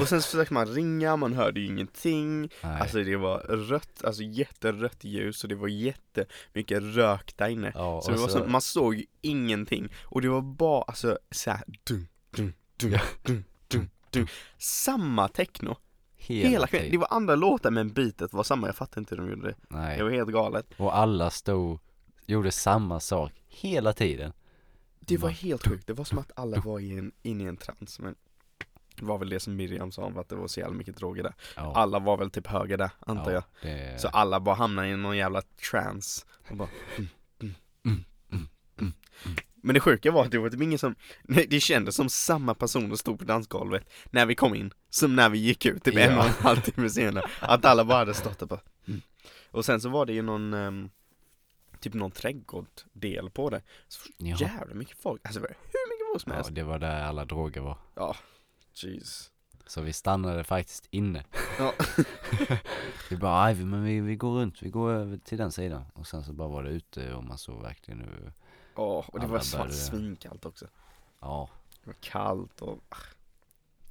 Och sen så försökte man ringa, man hörde ju ingenting. Nej. Alltså det var rött, alltså jätterött ljus och det var jättemycket rök där inne. ja, Så och det var så, man såg ju ingenting. Och det var bara, alltså såhär, dun, dun, dun, dun, dun, dun. Samma techno. hela, Hela kvällen. Det tiden. var andra låtar men beatet var samma, jag fattar inte hur de gjorde det. Nej. Det var helt galet. Och alla stod, gjorde samma sak hela tiden. Det var helt sjukt, det var som att alla var i en, inne i en trans men det var väl det som Miriam sa om att det var så jävla mycket droger där Ja, Alla var väl typ höger där, antar jag Det, Så ah, alla bara hamnade i någon jävla trans och bara, mm, mm, mm, mm, mm. Men det sjuka var att det var typ ingen som, nej, det kändes som samma personer stod på dansgolvet när vi kom in Som när vi gick ut, typ en Ja. och en halv timme senare Att alla bara hade stått där bara, mm. Och sen så var det ju någon ehm, Typ någon trädgårdsdel på det Så ja, jävla mycket folk, alltså det var hur mycket folk som ja, helst det var där alla droger var. Ja, jeez Så vi stannade faktiskt inne. Ja. vi bara, "Aj, vi- men vi, vi går runt, vi går över till den sidan. Och sen så bara var det ute och man såg verkligen hur, Ja, och det Alla var svart började- svinkallt också ja, Det var kallt och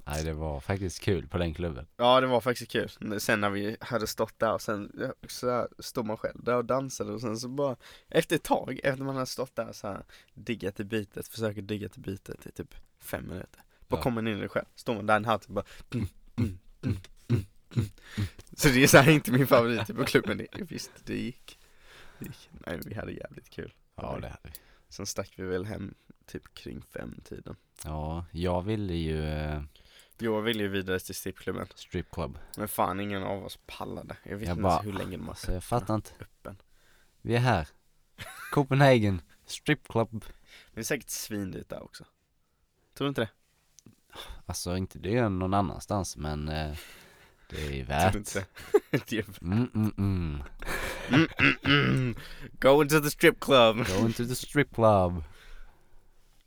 nej det var faktiskt kul på den klubben. Ja det var faktiskt kul, sen när vi hade stått där och sen så här, stod man själv där och dansade och sen så bara Efter ett tag, efter man hade stått där så här Diggat i bitet, försöker digga till bitet i typ fem minuter Bara Ja. kommer man in i det själv, står man där en halv typ bara mm, mm, mm, mm, mm. Så det är så här inte min favorit typ av klubb men det, visst det gick, det gick Nej men vi hade jävligt kul Ja, det hade vi. Sen stack vi väl hem typ kring femtiden. Ja, jag ville ju eh, Jag ville ju vidare till strippklubben, stripclub. men fan ingen av oss pallade. Jag vet Jag inte bara, ens hur länge de har Alltså jag fattar inte. öppen. Vi är här. Copenhagen. Stripclub. Det är säkert svindyrt där också. Tror du inte det? Alltså inte det är någon annanstans men eh, det är ju Tror värt. du inte det? det? är- Mm, mm, mm. Mm, mm, mm. Go into the strip club! Go into the stripclub.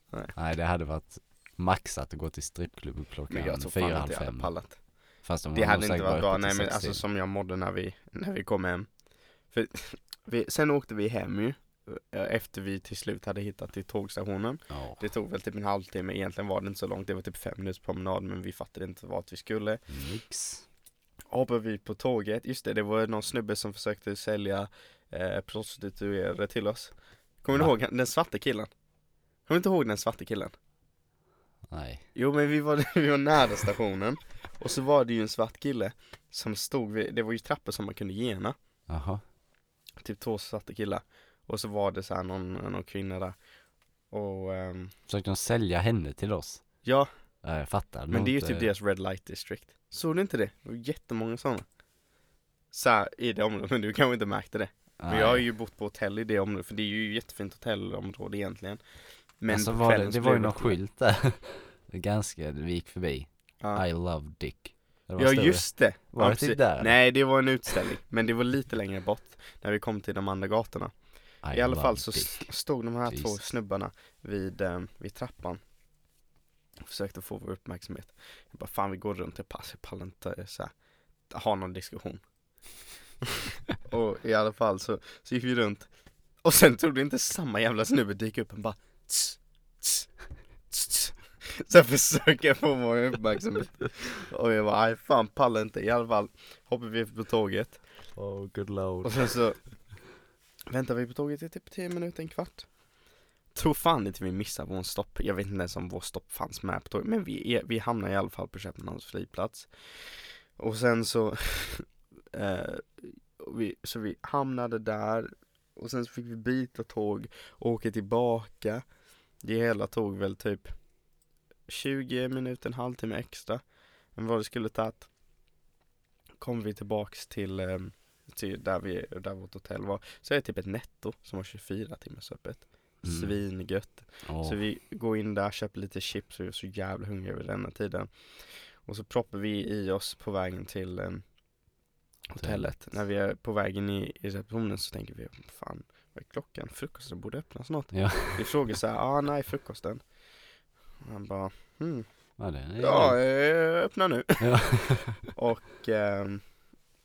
Nej. Nej det hade varit maxat att gå till strippklubben Men klockan jag tror fan fyra, halv inte jag hade fem. pallat. Fast de Det har nog hade inte säkert varit bra, öppet till nej men sex alltså till. som jag mådde när vi, när vi kom hem. För vi, sen åkte vi hem ju, eh, efter vi till slut hade hittat till tågstationen. Ja. Det tog väl typ en halvtimme, egentligen var det inte så långt, det var typ fem minuters promenad men vi fattade inte vart vi skulle. Nix. Hoppade vi på tåget, just det, det var någon snubbe som försökte sälja eh, prostituerade till oss. Kommer du Va? ihåg han- den svarta killen? Kommer du inte ihåg den svarta killen? Nej. Jo men vi var, vi var nära stationen och så var det ju en svart kille som stod vid, det var ju trappor som man kunde gena, Jaha. typ två svarta killar. Och så var det så här någon, någon kvinna där. Och ehm, Försökte de sälja henne till oss? ja, Ja, jag fattar. men det är ju Något, typ eh, deras red light district. Såg du inte det? Det var jättemånga sådana. Så här, i det området, men du kanske inte märkte det. Men nej. jag har ju bott på hotell i det området, för det är ju jättefint hotellområde egentligen. Men alltså, på var det, kvällen det så var ju blev någon skylt där. Det är Ganska, vi gick förbi. Ja, I love dick. Det var ja större. just det. Var ja, det typ precis. där? Nej, det var en utställning. Men det var lite längre bort, när vi kom till de andra gatorna. I alla love fall så dick. s- stod de här två Jesus. snubbarna vid, eh, vid trappan och försökte få vår uppmärksamhet. Jag bara, fan vi går runt, jag pass, jag pallar inte eh, så här, ha någon diskussion. och i alla fall så, så gick vi runt och sen trodde inte samma jävla snubbe dyka upp och bara tss, tss, tss, tss. Så jag försöker få vår uppmärksamhet. Och jag bara, nej fan pallar inte. I alla fall hoppar vi på tåget Oh good lord. och sen så väntar vi på tåget i typ 10 minuter, en kvart. Tror fan inte vi missar vår stopp. Jag vet inte ens om vår stopp fanns med på tåget. Men vi, är, vi hamnar i alla fall på Köpenhamns flygplats. Och sen så, eh, och vi, så vi hamnade där. Och sen så fick vi byta tåg och åka tillbaka. Det hela tog väl typ 20 minuter, en halvtimme extra än vad det skulle tagit. Kom vi tillbaks till ehm, till där, vi, där vårt hotell var. Så är det typ ett netto som har 24 timmars öppet. Mm. Svingött. Åh, Så vi går in där, köper lite chips och vi är så jävla hungriga vid denna tiden. Och så proppar vi i oss på vägen till eh, hotellet. När vi är på vägen i, i receptionen så tänker vi, fan vad är klockan? Frukosten borde öppna snart. Ja. Vi frågar så här, ah nej frukosten. Och han bara, hmm, Ja, den är ja eh, öppna nu. Ja. Och, ehm,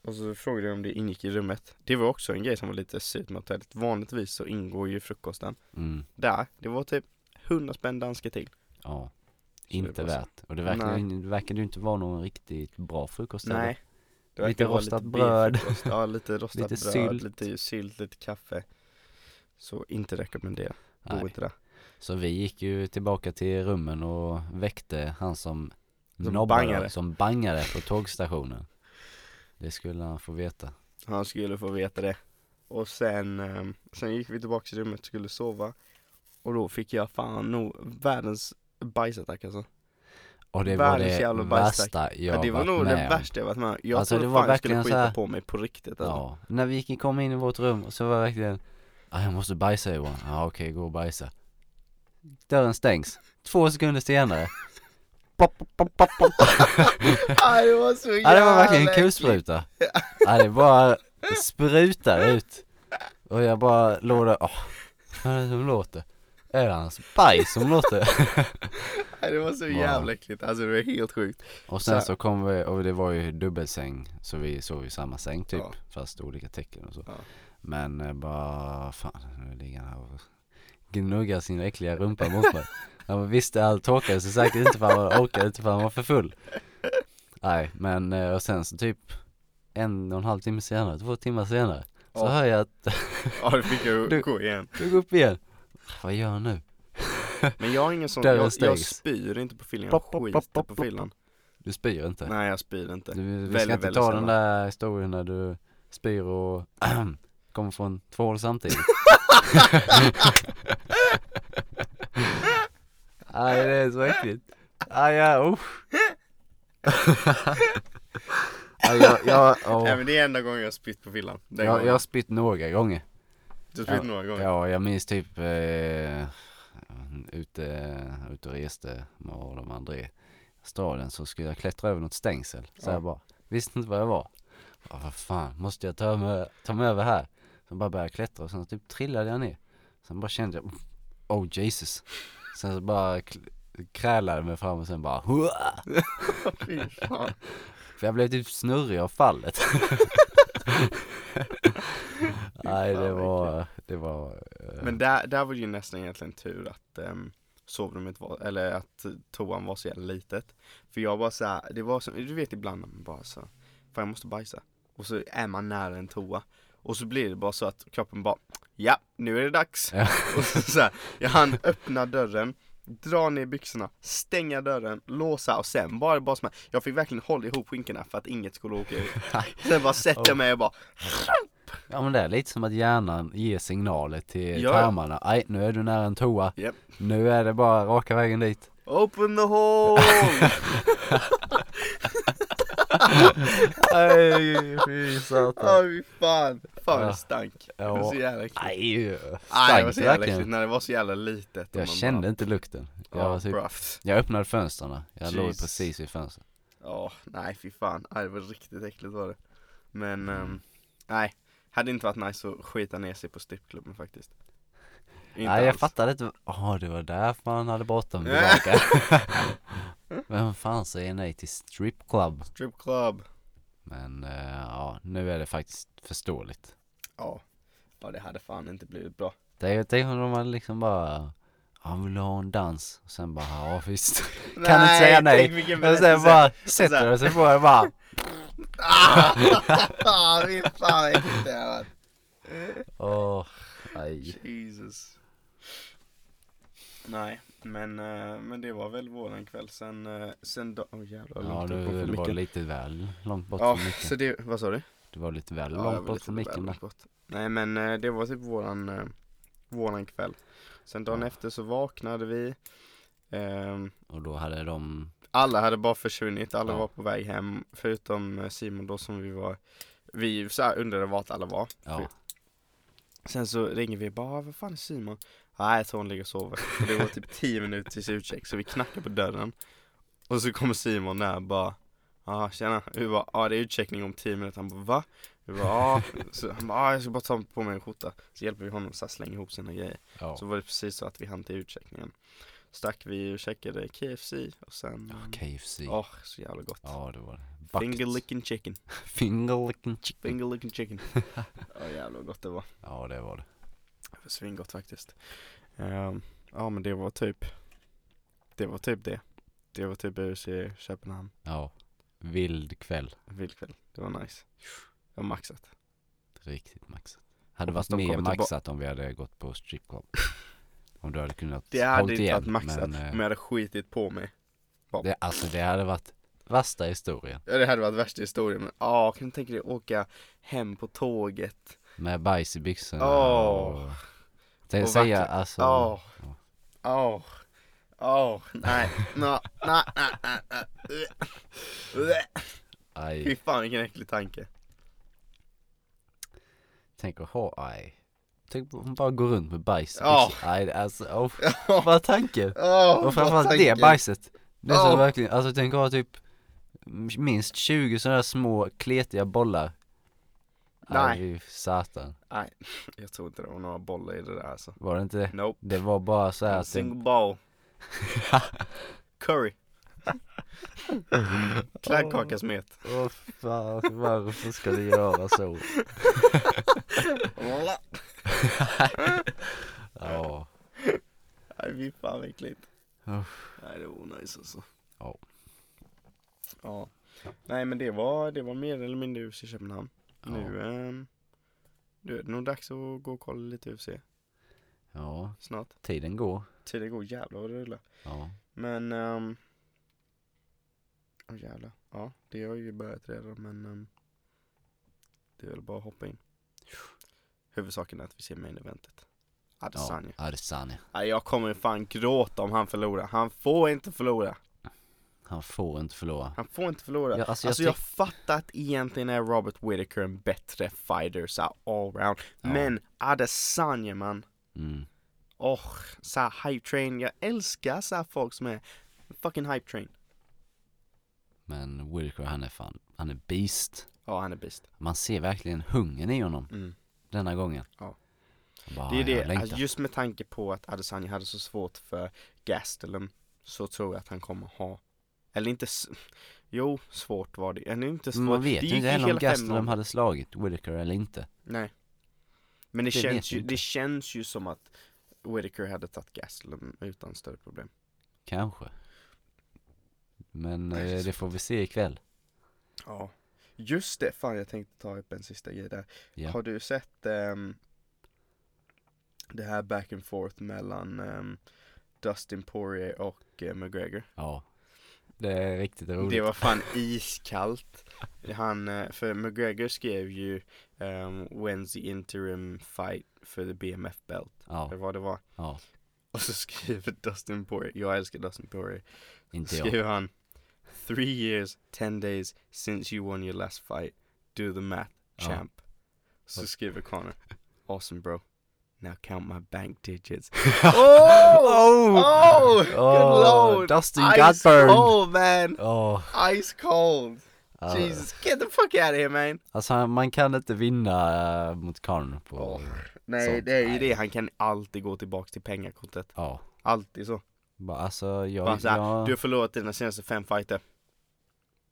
och så frågade jag om det ingick i rummet. Det var också en grej som var lite surt med hotellet. Vanligtvis så ingår ju frukosten Mm. där. Det var typ 100 spänn danska till. Ja. det Inte var så. värt. Och det verkar, Nej. ju- det verkar ju inte vara någon riktigt bra frukost. eller? Nej. Det verkar Lite vara rostat bröd. bifrukost. Ja, lite rostat Lite bröd, sylt. lite sylt, lite kaffe. Så inte rekommendera. Bo Nej. inte där. Så vi gick ju tillbaka till rummen och väckte han som, Som nobbade, bangade. som bangade på tågstationen. Det skulle han få veta. Han skulle få veta det. Och sen, ehm, sen gick vi tillbaka till rummet och skulle sova. Och då fick jag fan nog världens bajsattack alltså. Och det var Världens det jävla bajstack. värsta jag Ja, det var varit nog med det om. värsta jag varit med om. Jag Alltså, trodde det det var fan jag skulle verkligen skita så här- på mig på riktigt alltså. Ja, när vi gick kom in i vårt rum så var det verkligen ah, jag måste bajsa Johan, ja ah, okej gå och bajsa Dörren stängs, två sekunder senare pop, pop, pop, pop, pop. Ah, det var så jävla Ja det var verkligen en äckligt. kulspruta Ja det bara sprutade ut Och jag bara låg där, åh, vad är det som låter? Är det hans bajs som låter? Ah, Det var så jävla äckligt, alltså det var helt sjukt. Och Så här. sen så kom vi, och det var ju dubbelsäng så vi sov i samma säng typ Ja. fast olika tecken och så. Ja. Men eh, bara fan, nu ligger han här och gnuggar sin äckliga rumpa mot mig. Han bara, visste allt torkade sig säkert inte för han var- orkade inte för han var för full. Nej men eh, och sen så typ en och en halv timme senare, två timmar senare så Ja. hör jag att Ja det fick jag Du- gå igen. du går upp igen. Vad gör jag nu? Men jag har ingen sån, Dörren jag, jag stängs. spyr inte på filmen, jag Plopp, plopp, plopp, skiter plopp, på plopp. filmen. Du spyr inte. Nej jag spyr inte. Du, vi Väldigt, ska inte väldigt ta den sällan. där historien när du spyr och kommer från två håll samtidigt. Nej det är så äckligt. Aj, ja, usch. Aj, jag, jag, åh. Nej men det är enda gången jag har spytt på filmen. Den jag, gången. jag har spytt några gånger. du har spytt ja, några gånger. Ja, jag minns typ eh, ute, ute och reste med Adam och André i staden så skulle jag klättra över något stängsel. Så Ja. jag bara, visste inte vad jag var. Ja, vad fan, måste jag ta mig, ta mig över här? Så bara började jag klättra och sen typ trillade jag ner. Sen bara kände jag, oh Jesus. Sen så bara kl- krälade jag mig fram och sen bara, Hua! Fy fan. För jag blev typ snurrig av fallet. Nej fan, det vad var, det var eh, Men där, där var det ju nästan egentligen tur att um, sovrummet var, eller att toan var så jävla litet. För jag var så här, det var som, du vet ibland när man bara så, fan jag måste bajsa. Och så är man nära en toa. Och så blir det bara så att kroppen bara, ja nu är det dags. Ja. Och så, så här, jag hann öppna dörren, dra ner byxorna, stänga dörren, låsa och sen bara det bara som här, jag fick verkligen hålla ihop skinkorna för att inget skulle åka ut. Sen bara sätter jag mig och bara Ja men det är lite som att hjärnan ger signaler till Ja. tarmarna. Aj, nu är du nära en toa. Japp. Nu är det bara raka vägen dit. Open the hole! Aj, fy Åh satan. fy fan! Fan vad Ja. det stank! Det Ja. var så jävla äckligt. Aj, Nej det var stank så jävla verkligen. äckligt när det var så jävla litet. och Jag man kände bara, inte lukten. Jag, Ja, var typ, bruff. jag öppnade fönstren. Jag låg Jesus. precis vid fönstret. Ja, nej fy fan. Aj, det var riktigt äckligt var det. Mm. Men, ehm, nej. Hade inte varit nice att skita ner sig på strippklubben faktiskt. Inte Nej jag alls. fattade inte. Ja det var därför han hade bråttom tillbaka. Vem fan säger nej till stripclub? Strippklubb. Men eh, ja, nu är det faktiskt förståeligt. Ja. Ja det hade fan inte blivit bra. Det är ju, tänk om de hade liksom bara, han vill ha en dans. Och sen bara, ja visst. Kan du inte säga tänk nej. vilken Och sen berättelse. bara sätter de sig på det och bara, Ah, fy fan vad äckligt det här var. åh, nej. Jesus. Nej, men, eh, men det var väl våran kväll sen, eh, sen då, oh, jävlar, Ja, långt upp du, från du var micken. lite väl långt bort Ja, från så micken. det, vad sa du? Du var lite väl Ja, jag långt var bort lite från väl micken där. långt bort. Nej men eh, det var typ våran, eh, våran kväll. Sen dagen Ja. efter så vaknade vi. Ehm, Och då hade de, alla hade bara försvunnit, alla Ja. var på väg hem. Förutom eh, Simon då som vi var, vi så här undrade vart alla var. ja. Sen så ringer vi bara, "Ah, vad fan är Simon? Nej, jag tror han ligger och sover. Och det var typ 10 minuter tills utcheck, så vi knackar på dörren. Och så kommer Simon där och bara, ja tjena. Vi bara, ja det är utcheckning om 10 minuter. Han bara, va? Vi bara, ja. Så han bara, ja jag ska bara ta på mig en skjorta. Så hjälper vi honom så här, slänga ihop sina grejer. ja. Så var det precis så att vi hann till utcheckningen. Stack vi och käkade KFC och sen, Ja, KFC. åh så jävla gott. Ja, det var det. Finger Bucket. licking chicken, Finger licking chicken. finger licking chicken. Ja jävlar vad gott det var. Ja, det var det. Svingott faktiskt. Ehm, ja men det var typ, det var typ det. Det var typ BUC i Köpenhamn, Ja. Vild kväll. en vild kväll. Det var nice. Jag har maxat. Riktigt maxat. Hade Hoppas varit de mer kommer tillba- maxat om vi hade gått på stripclub. Om du hade kunnat Det hade hållt inte igen, varit maxat Men, eh, om jag hade skitit på mig. det, alltså det hade varit värsta historien. Ja, det hade varit värsta historien men ja, kan du tänka dig åka hem på tåget? Med bajs i byxorna Åh. och... Tänk Och säga vackert. alltså... Åh, ja. åh, åh, nej, nå, nej, nej, nej, nej, nej. Fy Aj. fan vilken äcklig tanke. Tänk att ha... Aj. Tänk på hon bara går runt med bajs i Ja. byxorna. Aj, alltså... Oh, vad tanken? Åh, Och framförallt vad det tanken. bajset. Det som Ja. verkligen, alltså tänk att ha typ minst 20 sådana här små kletiga bollar. Nej. Aj, fy satan. Nej, jag tror inte det var några bollar i det där alltså. Var det inte det? Nope. Det var bara så här En att det, single ball. Curry. Kladdkaka smet. Åh, fan, varför ska du göra så? Ja, Nej fy fan vad äckligt. Ja. Nej det var onajs alltså. Ja. Ja. Nej men det var, det var mer eller mindre UFC i Köpenhamn. Ja. Nu, ehm, nu är det nog dags att gå och kolla lite UFC ja, snart. tiden går. Tiden går jävlar vad det rullar. Ja, Men, ehm, åh jävlar. Ja, det har ju börjat redan men ehm, det är väl bara att hoppa in. Huvudsaken är att vi ser main eventet. ja, Adesanya. Adesanya. Nej, jag kommer fan gråta om han förlorar. Han får inte förlora. Han får inte förlora. Han får inte förlora. Ja, alltså alltså, jag, jag fattar att egentligen är Robert Whitaker en bättre fighter så här allround. Ja. Men Adesanya man. Mm. Åh, oh, så här hype train. Jag älskar så här folk som är fucking hype train. Men Wilker han är fan, han är beast. Ja, han är bäst. Man ser verkligen hungern i honom Mm. denna gången. Ja. Han Bara, Det är "Ja, jag det, längtar." alltså, just med tanke på att Adesanya hade så svårt för Gastelum så tror jag att han kommer ha, eller inte, s- jo svårt var det, eller inte svårt, Men man vet det ju gick inte ju heller om hela fem Gastelum gånger. hade slagit Whitaker eller inte. Nej. Men det, Det vet känns vi ju, inte. det känns ju som att Whitaker hade tagit Gastelum utan större problem. Kanske. Men Nej, det är eh, det får vi se ikväll. Ja. Just det, fan jag tänkte ta upp en sista grej där. Ja. Har du sett ehm, det här back and forth mellan ehm, Dustin Poirier och eh, McGregor? Ja. Det är riktigt roligt. Det var fan iskallt. Han, eh, för McGregor skrev ju ehm, When's the interim fight för the BMF belt? Ja, Eller vad det var. ja, Och så skriver Dustin Poirier, jag älskar Dustin Poirier. inte jag. Skriver han Three years, ten days since you won your last fight. Do the math, Ja. champ. Så skriver Connor. Awesome bro. Now count my bank digits. Oh! Oh! Good Oh, lord! Dustin Ice got burned. cold man! Åh, Ice cold! ja. Jesus, get the fuck out of here man! Alltså han- man kan inte vinna eh, mot Karn på... Åh, Nej, Sånt, det är ju nej. det. Han kan alltid gå tillbaks till pengakortet. Ja. Alltid så. Bara, alltså jag... Bara såhär, jag... du har förlorat dina senaste fem fighter.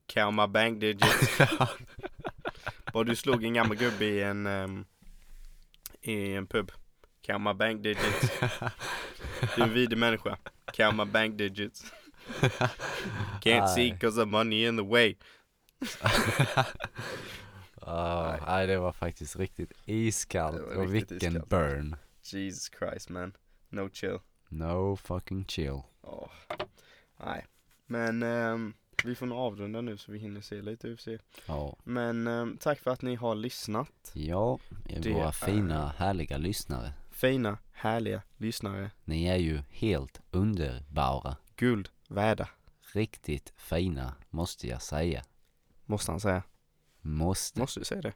Count my bank digits. Bara du slog en gammal gubbe i en, ehm, i en pub. Count my bank digits. Du är en vidrig människa. Count my bank digits. Can't see Nej. cause of money in the way. Ja, Nej. nej det var faktiskt riktigt iskallt Det var och riktigt vilken iskallt. burn. Jesus Christ man. No chill. No fucking chill. Ja, nej. Men ehm, vi får nog avrunda nu så vi hinner se lite UFC. Ja, Men ehm, tack för att ni har lyssnat. ja er Det våra är- fina härliga lyssnare. Fina, härliga lyssnare. Ni är ju helt underbara. Guld värda, Riktigt fina måste jag säga. måste han säga. Måste. Måste du säga det?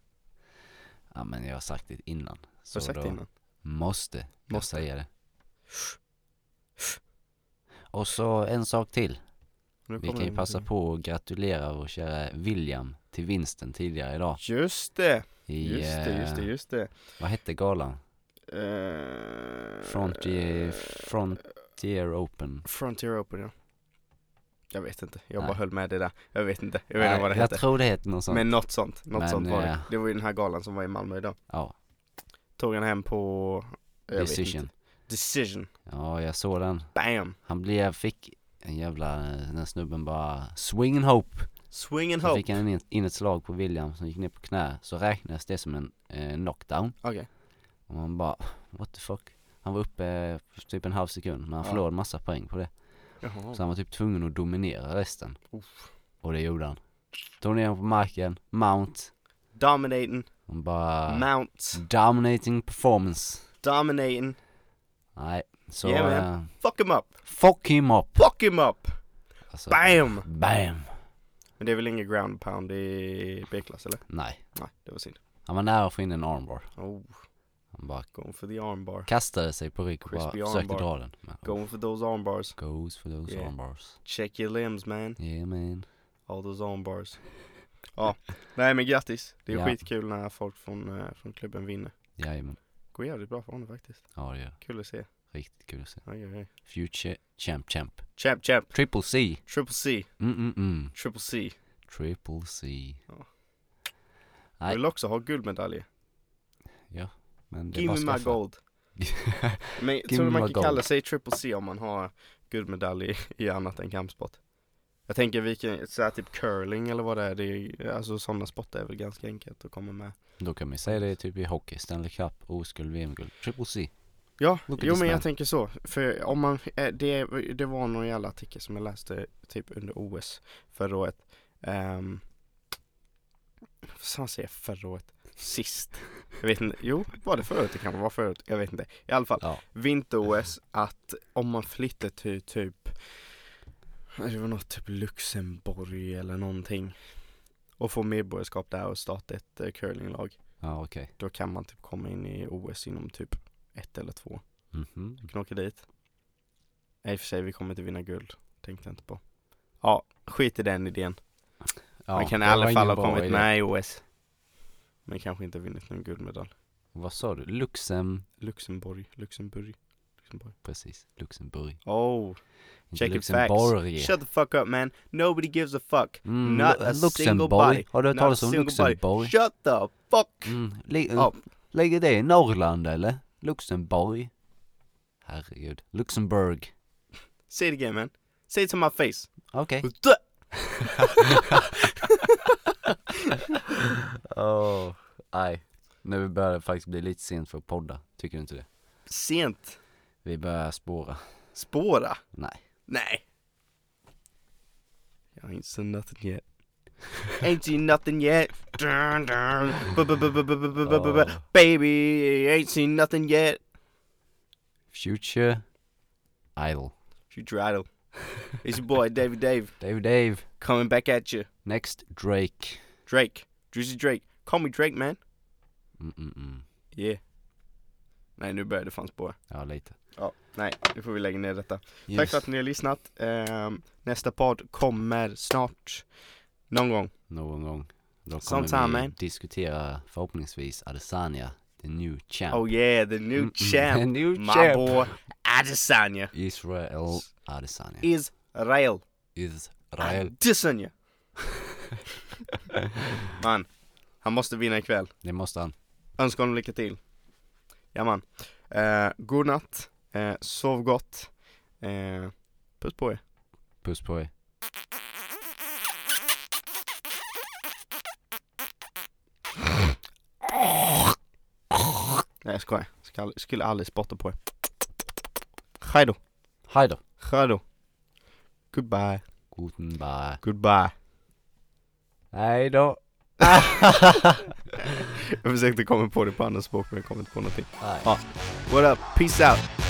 Ja men jag har sagt det innan. Har du sagt det innan? Måste, måste Måste. säga det. Och så en sak till. Nu Vi kommer kan ju det passa någonting. på att gratulera vår kära William till vinsten tidigare idag. Just det, I, just det, just det, eh, just det. Vad hette galan? Eh, Frontier, Frontier Open. Frontier Open ja. Jag vet inte, jag Nej. bara höll med det där. Jag vet inte, jag vet Nej, inte vad det jag hette. tror det heter något sånt. Men något sånt, något Men, sånt var det. eh, Det var ju den här galan som var i Malmö idag. ja, Tog han hem på... Jag vet Decision. inte. Decision. Ja, jag såg den. Bam! Han blev, fick en jävla, den här snubben bara swing and hope. Swing and Så hope. fick han in, in ett slag på William som gick ner på knä. Så räknas det som en eh, knockdown. Okej. Och man bara, what the fuck. Han var uppe för typ en halv sekund men han Ja. Oh. förlorade massa poäng på det. Så han var typ tvungen att dominera resten. Och det gjorde han. Tog ner honom på marken, mount. Dominating, Och bara... mount, Dominating performance. dominating. Nej, så... Yeah, Yeah, man. Fuck him up, fuck him up! fuck him up! Alltså, Bam! Bam! Men det är väl ingen ground pound i B-klass eller? Nej. Nej, det var synd. Han var nära att få in en armbar. Oh, Han bara going for the armbar. kastade sig på rygg och bara Crispy försökte armbar. dra den. Men, Going for those armbars. Goes for those Yeah. armbars. Check your limbs man. Yeah man. All those armbars. Ja, nej men grattis. Det är Ja. skitkul när folk från, eh, från klubben vinner. Jajamän. Går jävligt bra för honom faktiskt. Ja det gör Kul att se. Riktigt kul att se. Oj, oj, oj. Future champ champ. Champ, champ. Triple C. Triple C, Mm mm mm. triple C. Triple C. Jag Nej. vill också ha guldmedaljer. Men det är Give bara me my skaffa. gold. Men jag Give tror me man my kan gold. kalla sig triple C om man har guldmedalj i, i annat än kampsport. Jag tänker vi kan, så här typ curling eller vad det är, det är alltså sådana sporter är väl ganska enkelt att komma med. Då kan man ju säga det typ i hockey. Stanley Cup, oskuld, VM-guld. Triple C. Ja, Look at jo this men jag man. tänker så. För om man, eh, det, det var någon jävla artikel som jag läste typ under OS förra året. Um, vad säger jag förra året? Sist. Jag vet inte, jo var det förra året? Det kan vara förra året, jag vet inte. I alla fall, Ja. vinter-OS att om man flyttar till typ Det var något typ Luxemburg eller någonting Och får medborgarskap där och starta ett eh, curlinglag Ja okej. Då kan man typ komma in i OS inom typ ett eller två Mhm. Kan åka dit Nej i och för sig vi kommer inte vinna guld Tänkte jag inte på Ja, skit i den idén Ja, Man kan i det alla var fall ingen ha bra kommit idé. med i OS Men kanske inte vunnit någon guldmedalj Vad sa du? Luxem... Luxemburg, Luxemburg, Luxemburg Precis, Luxemburg. Oh Inte Check it facts. Luxemburg. Shut the fuck up man. Nobody gives a fuck. Mm, Not Lu- a single Luxemburg. body. Har du hört Not talas a om single body. Luxemburg? Shut the fuck Mm. Li- up. Ligger det i Norrland eller? Luxemburg? Herregud. Luxemburg. Say it again man. Say it to my face. Okej. Åh, nej. Nu börjar det faktiskt bli lite sent för att podda. Tycker du inte det? Sent. Vi börjar spåra. Spåra. Nej. Nej. I ain't seen nothing yet. ain't seen nothing yet. Dun, dun. Bu- bu- bu- bu- bu- bu- bu- bu- bu- bu- Ja. Baby, ain't seen nothing yet. Future Idol. Shoot your idol. It's your boy, Davey Dave, Dave Dave. coming back at you. Next Drake. Drake. Drizzy Drake. Call me Drake, man. Mm-mm-mm. Yeah. Nej, nu börjar det fan spåra. Ja, lite. Ja, nej, nu får vi lägga ner detta. Tack Yes. för att ni har lyssnat. Ehm, nästa podd kommer snart. Någon gång. Någon gång. Då Sometime, kommer vi man. diskutera förhoppningsvis Adesanya, the new champ. Oh yeah, the new Mm-mm. Mm, The champ. new My champ. boy, Adesanya. Israel Adesanya. Israel. Israel. Adesanya. man, han måste vinna ikväll. Det måste han. Önskar honom lycka till. Ja man. Eh, god natt. Eh, sov gott. Eh, puss på er. Puss på er. Nej jag skojar. Skulle, skulle aldrig spotta på er. Hej då. Hej då. Hej då. Goodbye. Guten bye. Goodbye. Hej då. Jag försökte komma på det på andra språk men jag kom inte på någonting. Nej. Ja. What up? Peace out.